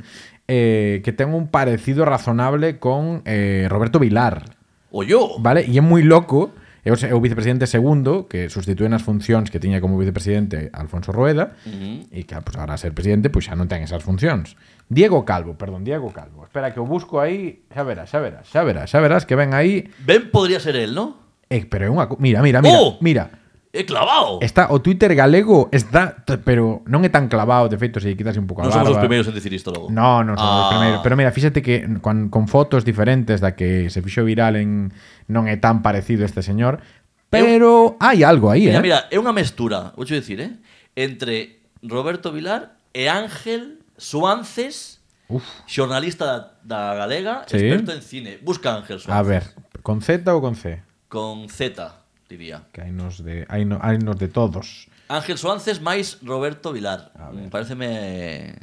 eh que ten un parecido razonable con eh, Roberto Vilar,
O yo.
vale? E é moi loco, é o, se- é o vicepresidente segundo, que substitúe nas funcións que tiña como vicepresidente Alfonso Rueda,
Ujú.
e que pues, agora ser presidente pois xa non ten esas funcións. Diego Calvo, perdón, Diego Calvo. Espera que o busco aí, xa verás, xa verás, xa verás, xa verás que ven aí.
Ben podría ser el, non?
Eh, pero é unha, co- mira, mira, mira,
Oh!
mira.
É clavado.
Está o Twitter galego está, t- pero non é tan clavado, de feito, se lle quitas un pouco a
Non somos os
barba.
primeiros en dicir isto logo.
No, non somos os
Ah.
primeiros. Pero mira, fíxate que con, con fotos diferentes da que se fixo viral en non é tan parecido este señor, pero hai algo aí,
Mira,
eh?
mira, é unha mestura, vou dicir, eh? Entre Roberto Vilar e Ángel Suances,
Uf.
xornalista da, da Galega,
Sí.
experto en cine. Busca Ángel
A
Suances.
ver, con Z ou con C?
Con Z, diría.
Que hai nos de, hai no, hai nos de todos.
Ángel Suances máis Roberto Vilar.
A ver.
Mm, Pareceme...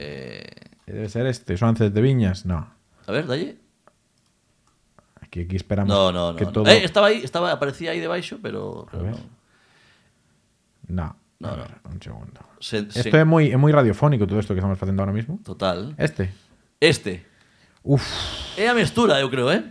Eh,
Debe ser este, son antes de Viñas, no.
a ver, dalle.
Aquí, aquí esperamos
No, no, no.
que
no.
todo...
Eh, estaba aí, estaba, aparecía aí debaixo, pero...
A
pero
ver. No,
no. No,
a
no.
ver, un segundo.
Se-
Esto é
se-
moi é moi radiofónico todo isto que estamos facendo ahora mismo.
Total.
Este.
Este.
Uf,
É a mestura, eu creo, eh?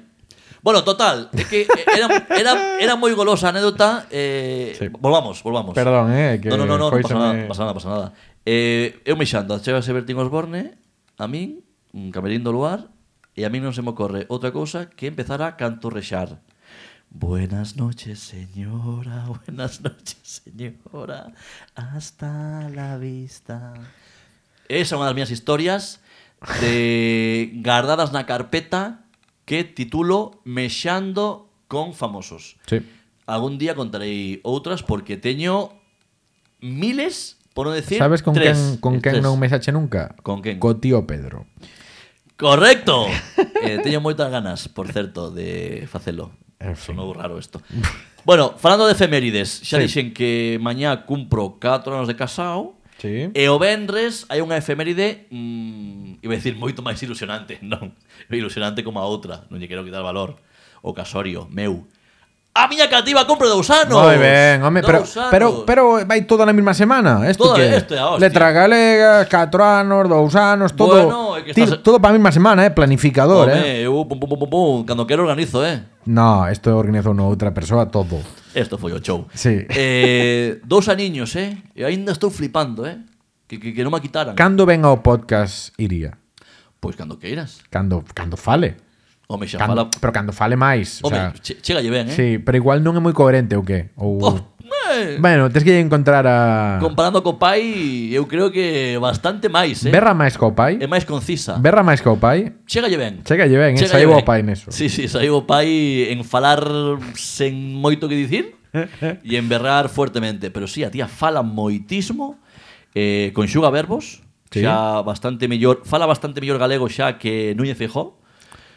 Bueno, total, é que era, era, era moi golosa a anécdota eh,
Sí.
Volvamos, volvamos
Perdón, eh, que
No, no, no, no, no pasa
fóiseme-
nada, pasa nada, pasa nada eh, Eu mexando, achegase Bertín Osborne A min, un camerín do luar E a min non se me ocorre outra cousa Que empezar a cantorrexar Buenas noches, señora Buenas noches, señora Hasta la vista Esa é unha das miñas historias de guardadas na carpeta que titulo Mexando con famosos.
sí.
Algún día contarei outras porque teño miles, por non decir
Sabes con
tres.
quen con quen
Tres.
non mesache nunca?
Con quen?
Co tío Pedro.
Correcto. eh, teño moitas ganas, por certo, de facelo.
En
Son
fin.
novo raro isto. bueno, falando de efemérides, xa
Sí.
dixen que mañá cumpro 4 anos de casao.
Sí.
E o Benres hai unha efeméride mm, Iba a decir moito máis ilusionante Non, ilusionante como a outra Non lle quero quitar valor O casorio, meu A miña cativa compra dous anos
Moi ben, home,
Dous
pero,
anos.
pero, pero vai toda na mesma semana Esto
Toda,
que
esto é a hostia.
Letra galega, 4 anos, 2 anos Todo,
Bueno, é que
tir-
estás-
todo para a mesma semana, eh, planificador
Home,
eh.
eu pum, pum, pum, pum, pum, Cando quero organizo, eh
No, isto organizou outra persoa todo
Esto foi o show.
Sí.
Eh, dous aniños, eh? E ainda estou flipando, eh? Que, que, que non me quitaran.
Cando ven ao podcast iría?
pois cando queiras.
Cando, cando fale.
Home, xa
Cando,
fala...
Pero cando fale máis. O sea,
Home, che, chegalle ben, eh?
sí, pero igual non é moi coherente ou que? Ou...
Oh, eh,
Bueno, tens que encontrar a...
comparando co pai, eu creo que bastante máis, eh?
Berra máis co pai.
É máis concisa.
Berra máis co pai.
Chegalle ben.
Chégalle ben, eh?
Chégalle
saiu ao
ben.
pai neso.
Sí, sí, saiu o pai en falar sen moito que dicir e en berrar fuertemente. Pero sí, a tía fala moitismo, eh, conxuga verbos,
Sí.
xa bastante mellor, fala bastante mellor galego xa que Núñez Feijó,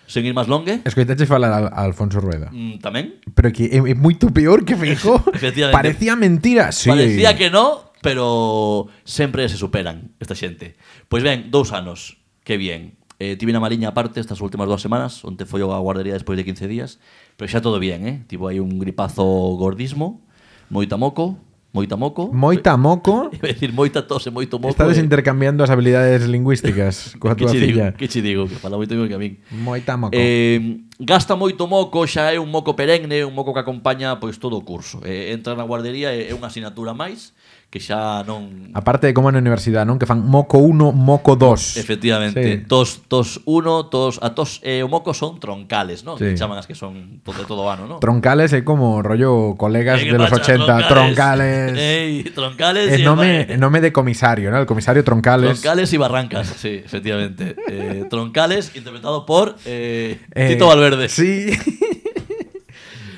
sen ir máis longue,
Escoitache falar a, a Alfonso Rueda.
mm, tamén.
Pero que é, é moito peor que Feijó.
Efectivamente.
Parecía mentira. Sí.
Parecía que no, pero sempre se superan esta xente. Pois ben, dous anos, que bien. Eh, tive na Mariña aparte estas últimas dúas semanas, onte foi a guardería despois de 15 días, pero xa todo bien, eh? Tipo hai un gripazo gordismo, moita moco, moita moco.
Moita moco.
Iba a decir moita tose, moito moco.
Estades
eh,
intercambiando as habilidades lingüísticas coa
que
túa
che digo,
filla.
que che digo, que fala moito mellor que a min.
Moita moco.
Eh, gasta moito moco, xa é un moco perenne, un moco que acompaña pois todo o curso. Eh, entra na guardería é é unha asignatura máis que xa non
Aparte de como na universidade, non? Que fan moco 1, moco 2.
Efectivamente.
Sí.
Tos, tos uno, tos, a tos e o moco son troncales, ¿no?
Sí.
Que chaman as que son to- de todo ano, ¿no?
Troncales é como rollo colegas
Eh, que
de los
pacha,
80. Troncales.
Ey, troncales.
Eh,
y-
nome,
eh,
nome de comisario, ¿no? El comisario Troncales.
troncales y barrancas, sí, efectivamente. Eh, troncales, interpretado por eh,
Eh,
Tito Valverde.
Sí.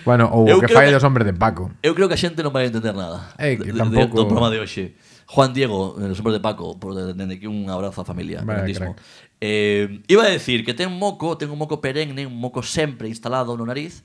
bueno, ou
Eu
o que
creo
fai
que-
dos hombres de Paco.
Eu creo que a xente non vai entender nada
Eh, que
de- de-
tampouco-
do programa de hoxe. Juan Diego, eh, os hombres de Paco, por de- dende aquí un abrazo á familia.
Vaya
grandísimo.
crack.
Eh, iba a decir que ten moco, ten un moco perenne, un moco sempre instalado no nariz.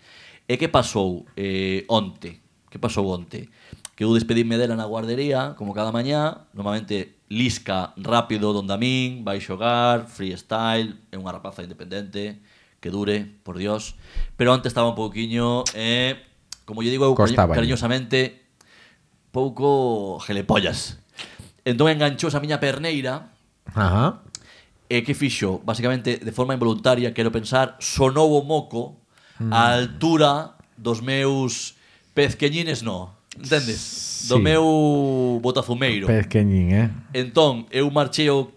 E que pasou eh, onte? Que pasou onte? Que eu despedíme dela na guardería, como cada mañá, normalmente lisca rápido donde a min, vai xogar, freestyle, é unha rapaza independente, que dure, por Dios. Pero antes estaba un pouquiño, eh, como lle digo, eu
Costaba.
cariñosamente pouco gelepollas. Entón enganchou a miña perneira
Ajá.
e que fixo, basicamente, de forma involuntaria, quero pensar, sonou o moco
Mm.
á altura dos meus pezqueñines, no. Entendes? Do
Sí.
meu botafumeiro.
Pesqueñín, eh?
Entón, eu marchei ao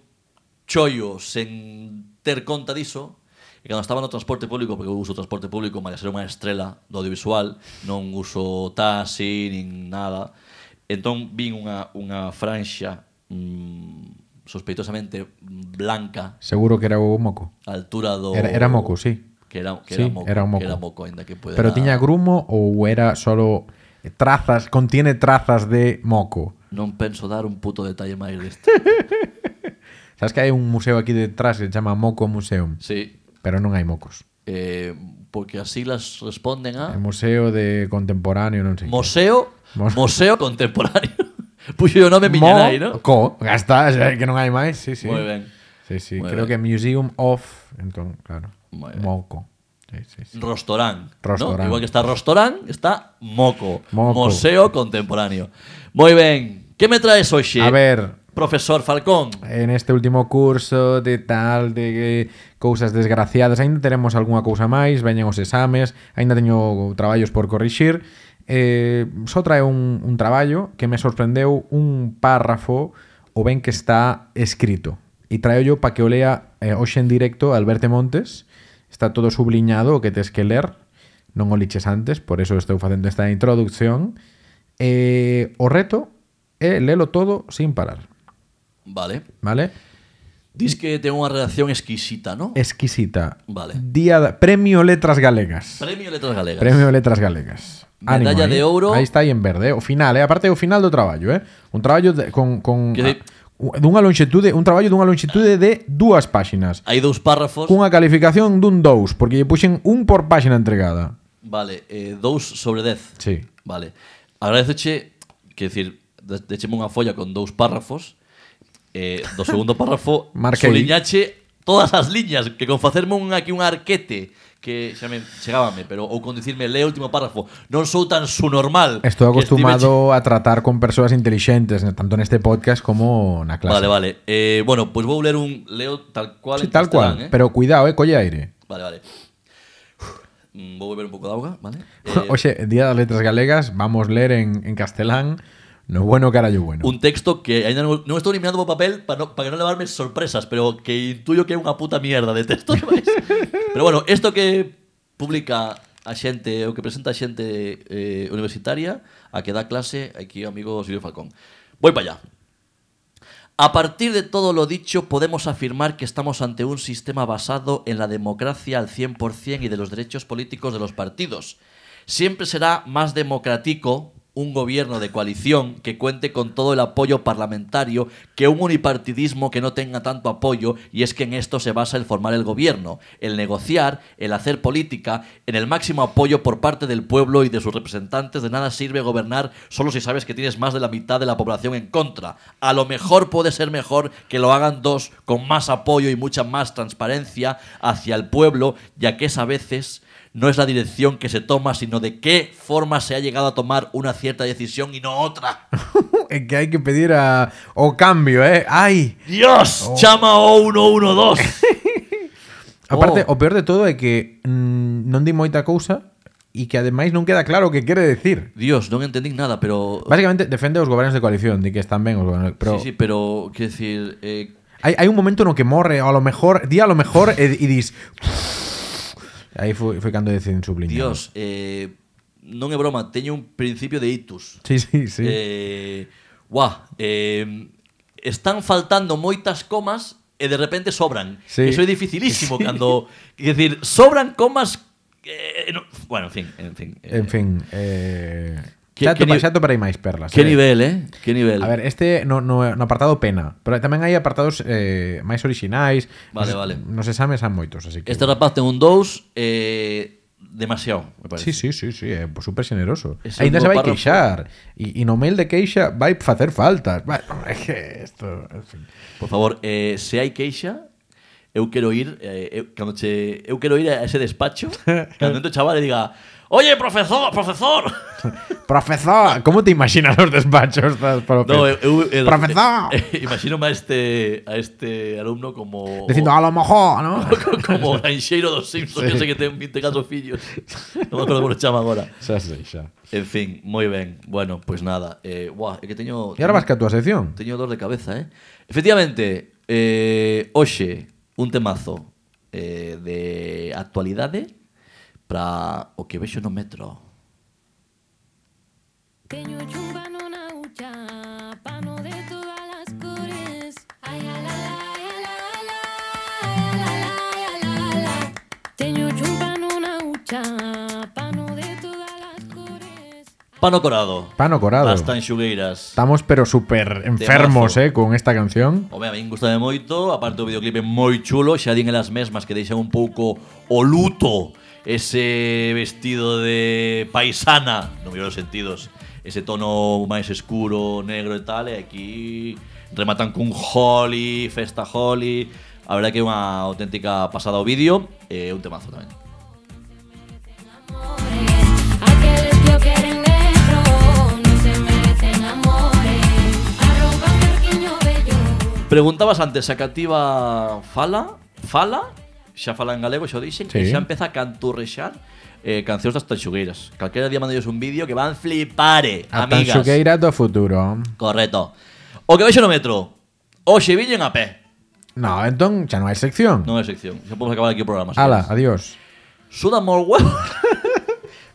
chollo sen ter conta diso, e cando estaba no transporte público, porque eu uso transporte público, malla ser unha estrela do audiovisual, non uso taxi, nin nada, entón vin unha, unha franxa mm, sospeitosamente blanca
Seguro que era o moco.
a altura do...
Era- era moco, sí.
Que era, que
Sí,
era moco,
era un moco.
Que era moco, ainda que pueda...
Pero tiña grumo ou era solo trazas, contiene trazas de moco.
Non penso dar un puto detalle máis deste.
Sabes que hai un museo aquí detrás que se chama Moco Museum,
sí,
pero non hai mocos.
eh, porque así las responden a...
É museo de contemporáneo, non sei.
Museo,
Mos-
Museo Contemporáneo. Puxo o nome miña nai, ¿no?
Co, gasta, xa que non hai máis, sí, sí.
Moi ben.
Sí, sí,
Moi
creo
ben.
que Museum of, entón, claro.
Moi ben.
Moco. Sí, sí, sí.
Rostorán,
Rostorán.
¿no? Igual que está Rostorán, está Moco.
Moco.
Museo Contemporáneo. Moi ben. Que me traes hoxe?
A ver,
Profesor Falcón.
en este último curso de tal, de eh, cousas desgraciadas. Ainda teremos algunha cousa máis, veñen os exames, ainda teño traballos por corrixir. Eh, só trae un, un traballo que me sorprendeu un párrafo o ben que está escrito. E traio yo para que o lea eh, hoxe en directo Alberto Montes. Está todo subliñado o que tes que ler. Non o liches antes, por eso estou facendo esta introducción. Eh, o reto é lelo todo sin parar.
Vale.
Vale?
Dis que ten unha redacción exquisita, ¿no?
exquisita.
Vale.
Día da- Premio Letras Galegas.
Premio Letras Galegas.
Premio Letras Galegas.
Medalla
Ánimo,
de
aí.
ouro.
Aí está aí en verde, eh. o final, eh. aparte o final do traballo, eh. Un traballo de, con con
Que-
a- dunha longitude, un traballo dunha longitude de dúas páxinas,
Hai dous párrafos.
cunha calificación dun 2, porque lle puxen un por páxina entregada.
Vale, eh, dous sobre dez.
Sí.
Vale. Agradeceche, que decir, de- decheme unha folla con dous párrafos. Eh, do segundo párrafo,
Marquei.
soliñache todas as liñas, que con facerme un, aquí un arquete, que xa me chegábame, pero ou con dicirme leo o último párrafo, non sou tan su normal.
Estou
que estive
acostumado a tratar con persoas intelixentes, ne- tanto neste podcast como na
che-
clase.
Vale, vale. Eh, bueno, pois vou ler un leo tal cual
Sí,
en
tal
castelán,
cual,
eh.
pero cuidado, eh, colle aire.
Vale, vale. Mm, Vou beber un pouco de auga, vale?
Oxe, Día das Letras Galegas, vamos ler en, en castelán No bueno carallo bueno.
un texto que ainda non, non estou ni mirando o papel para no, para que non levarme sorpresas, pero que intuyo que é unha puta mierda de texto, sabes? pero bueno, isto que publica a xente, o que presenta a xente eh, universitaria, a que dá clase aquí o amigo Silvio Falcón. Voy para allá. A partir de todo lo dicho, podemos afirmar que estamos ante un sistema basado en la democracia al 100% y de los derechos políticos de los partidos. Siempre será más democrático un gobierno de coalición que cuente con todo el apoyo parlamentario que un unipartidismo que no tenga tanto apoyo y es que en esto se basa el formar el gobierno, el negociar, el hacer política, en el máximo apoyo por parte del pueblo y de sus representantes. De nada sirve gobernar solo si sabes que tienes más de la mitad de la población en contra. A lo mejor puede ser mejor que lo hagan dos con más apoyo y mucha más transparencia hacia el pueblo, ya que es a veces no es la dirección que se toma, sino de qué forma se ha llegado a tomar una cierta decisión y no otra.
É que hai que pedir a, o cambio, eh? Ai!
¡Dios! Chama o 112.
Aparte, o
Oh.
peor de todo é que mm, non di moita cousa e que ademais non queda claro o que quere decir.
Dios, no entendí nada, pero.
Básicamente defende os gobernos de coalición, di que están ben os gobernos, pero
Sí, sí, pero quiero decir. eh,
Hai, hai un momento no que morre, ao lo mejor, di a lo mejor e, e dis Aí foi, foi cando deciden subliñar.
Dios, eh, no es broma, tengo un principio de itus.
Sí, sí, sí.
Eh, guá, eh, están faltando moitas comas e de repente sobran.
Sí.
Eso é dificilísimo cando, quer decir, sobran comas eh, no- bueno, en fin, en fin. eh,
en fin, eh
que-
Chato,
que
pa,
ni-
chato para hai máis perlas.
Que
eh.
nivel, eh? Que nivel.
A ver, este no, no, no apartado pena, pero tamén hai apartados eh, máis orixinais.
Vale,
nos,
vale.
Nos exames han moitos, así que
este rapaz ten un 2 eh, demasiado, me parece.
Sí, sí, sí, sí, é super generoso.
Ese
Ainda se vai
párrafo.
queixar e, e no mail de queixa vai facer faltas. Vai, é que esto, en fin.
Por favor, eh, se hai queixa, eu quero ir eh, eu, cando che, eu quero ir a ese despacho cando entro o chaval e diga Oye, profesor, profesor
Profesor, como te imaginas os despachos das profes?
No, eh, eu, eu, eu
Profesor.
eh, imagino a este a este alumno como
Dicindo a lo mejor, ¿no?
como o ranxeiro dos Simpsons, que
Sí.
sei que ten 24 fillos. Non me acordo como lo chama agora.
xa sei, xa.
En fin, moi ben. Bueno, pois pues nada, eh, buah, é que teño
E agora vas que a túa sección.
teño dor de cabeza, eh. Efectivamente, eh, hoxe un temazo eh, de actualidade para o que vexo no metro.
Teño chumba non aucha, pano de todas as cores. Ai, ala, ai, ala, ala, ala, ala, ala, ala. Teño chumba non aucha, pano de todas as cores.
Pano Corado.
Pano Corado.
Hasta en Xugueiras.
Estamos pero super enfermos, eh,
Temazo.
con esta canción.
Home, a min gustame moito, aparte o videoclipe é moi chulo, xa din elas mesmas que deixan un pouco o luto ese vestido de paisana, no mellor dos sentidos, ese tono máis escuro, negro e tal, e aquí rematan cun holly, festa holly, a verdade que é unha auténtica pasada o vídeo e un temazo tamén.
Amores, aqueles que o queren dentro, non se merecen amores. Arroba un arquiño bello.
Preguntabas antes, a cativa fala, fala, xa fala en galego, xa o dixen,
Sí.
que xa empeza a canturrexar eh, cancións das tanxugueiras. Calquera día mandalles un vídeo que van flipare,
A
amigas.
Tanxuqueira do futuro.
Correcto. O que vexo no metro, hoxe viñen a pé.
No, entón xa non hai sección.
Non é sección, xa podemos acabar aquí o programa. se
Ala,
queres.
adiós.
Suda mol huevo.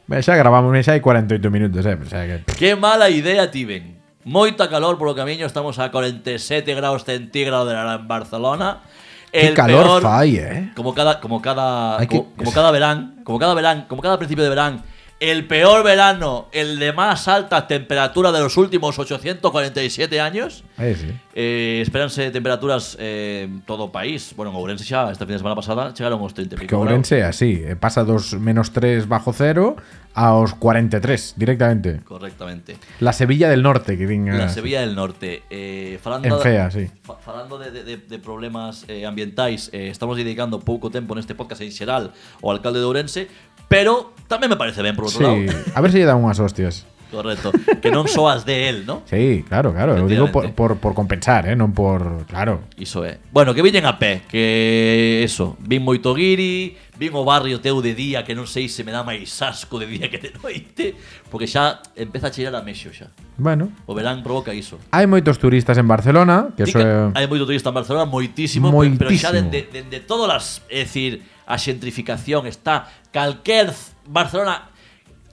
Ben, xa gravamos, xa hai 48 minutos, eh, xa que
que mala idea tiven. Moita calor polo camiño, estamos a 47 graus centígrados de en Barcelona.
Que
El
calor
peor-
fai, eh.
Como cada, como cada,
Hay que-
como, como cada verán, como cada verán, como cada principio de verán, el peor verano, el de más alta temperatura de los últimos 847 años.
Eh, sí.
Eh, esperanse temperaturas eh, en todo o país. Bueno, en Ourense xa, esta fin de semana pasada, chegaron aos 30 e
Que
pico graus.
Ourense é así, eh, pasa dos menos 3 bajo cero aos 43 directamente.
Correctamente.
La Sevilla del Norte, que din
La
a-
Sevilla del Norte. Eh, falando
Ah, En fea, sí.
fa- falando de, de- de- de problemas eh, ambientais, eh, estamos dedicando pouco tempo neste podcast en xeral ao alcalde de Ourense, pero tamén me parece ben por
Sí,
outro lado.
a ver se lle dan unhas hostias.
Correcto. Que non soas de él, ¿no?
Sí, claro, claro. Lo digo por,
Efectivamente.
por- por compensar, ¿eh? No por. Claro.
Iso é. Bueno, que viñen a pé, que eso, vin moito guiri, vin o barrio teu de día, que non sei se me dá máis asco de día que de noite, porque xa empeza a cheirar a mexo xa.
Bueno.
O verán provoca iso.
Hai moitos turistas en Barcelona, que
Ti
eso
que
é-
Hai moito turista en Barcelona, moitísimo, pe- pero
Moitísimo.
xa dende de, de todas as, é dicir, a xentrificación está calquer z- Barcelona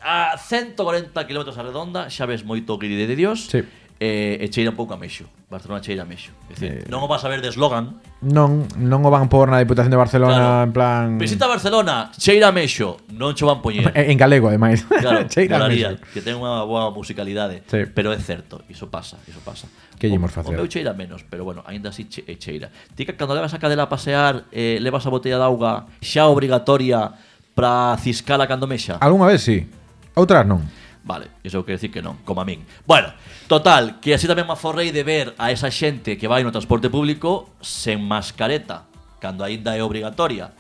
a 140 km a redonda, xa ves moito guiri de Dios.
Sí.
Eh, e cheira un pouco a mexo. Barcelona cheira a mexo. É dicir, non o vas a ver de eslogan,
Non, non o van por na Diputación de Barcelona
Claro.
en plan
Visita Barcelona, cheira a Mexo, non cho van poñer.
en en galego ademais.
Claro,
Cheira a
molaría,
mexo.
que ten unha boa musicalidade,
Sí.
pero é certo, iso pasa, iso pasa.
Que lle imos
O-
facer?
O meu cheira menos, pero bueno, aínda así che, eh, cheira. Ti que cando levas a cadela a pasear, eh, levas a botella de auga xa obrigatoria para ciscala cando mexa?
Algunha vez sí, outras non.
Vale, iso quer decir que non, como a min. Bueno, total, que así tamén me aforrei de ver a esa xente que vai no transporte público sen mascareta, cando aínda é obrigatoria.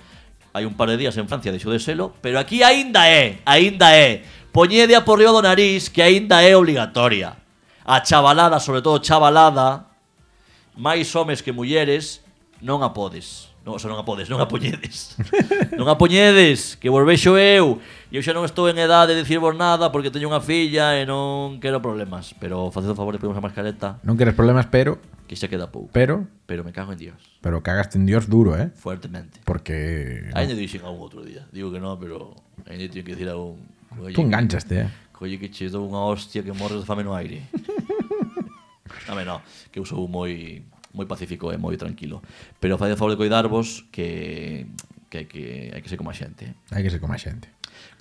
Hai un par de días en Francia deixou de selo, pero aquí aínda é, aínda é. Poñede a por río do nariz que aínda é obligatoria. A chavalada, sobre todo chavalada, máis homes que mulleres, non a podes. Non, o sea, non a podes, non a poñedes. non a poñedes, que vos vexo eu. E eu xa non estou en edade de dicirvos nada porque teño unha filla e non quero problemas. Pero faced o favor de poñermos a mascareta,
Non queres problemas, pero
que xa queda pouco.
pero
Pero me cago en Dios,
pero cagaste en Dios duro, ¿eh?
fuertemente.
Porque
Ainda dixen algún outro día. Digo que non, pero ainda teño que dicir algún... Oye,
tú enganchaste, ¿eh?
Colle que che dou unha hostia que morres de fame no aire. Dame no, que eu sou moi moi pacífico e moi tranquilo. Pero fai o favor de coidarvos que que hai que hai que ser como a xente. eh.
Hai que ser como a xente.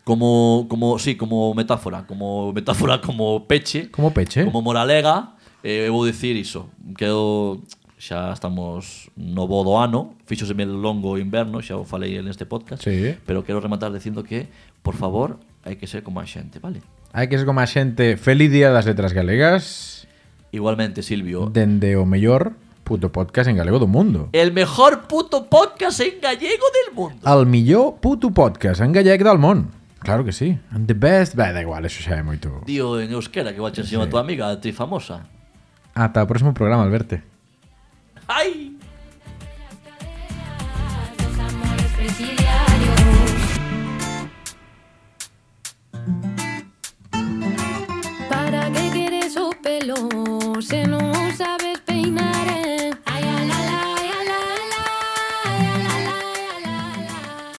Como como sí, como metáfora, como metáfora como peche.
Como peche.
Como moralega, eh, eu vou dicir iso. Quedo xa estamos no bo do ano, fíxoseme longo o inverno, xa o falei neste podcast,
Sí.
pero quero rematar dicindo que, por favor, hai que ser como a xente, vale?
Hai que ser como a xente. Feliz Día das Letras Galegas.
Igualmente, Silvio.
Dende o mellor puto podcast en galego do mundo.
el mejor puto podcast en gallego del mundo.
El millor puto podcast en gallec del món. Claro que sí. The best, bah, da igual, eso xa é moito.
Tío, en euskera, que igual te enseñó a tu amiga, a ti famosa.
Ata o próximo programa, Alberto.
¡Ay!
Los amores presidiarios. ¿Para qué quiere su pelo? Se no sabe eh.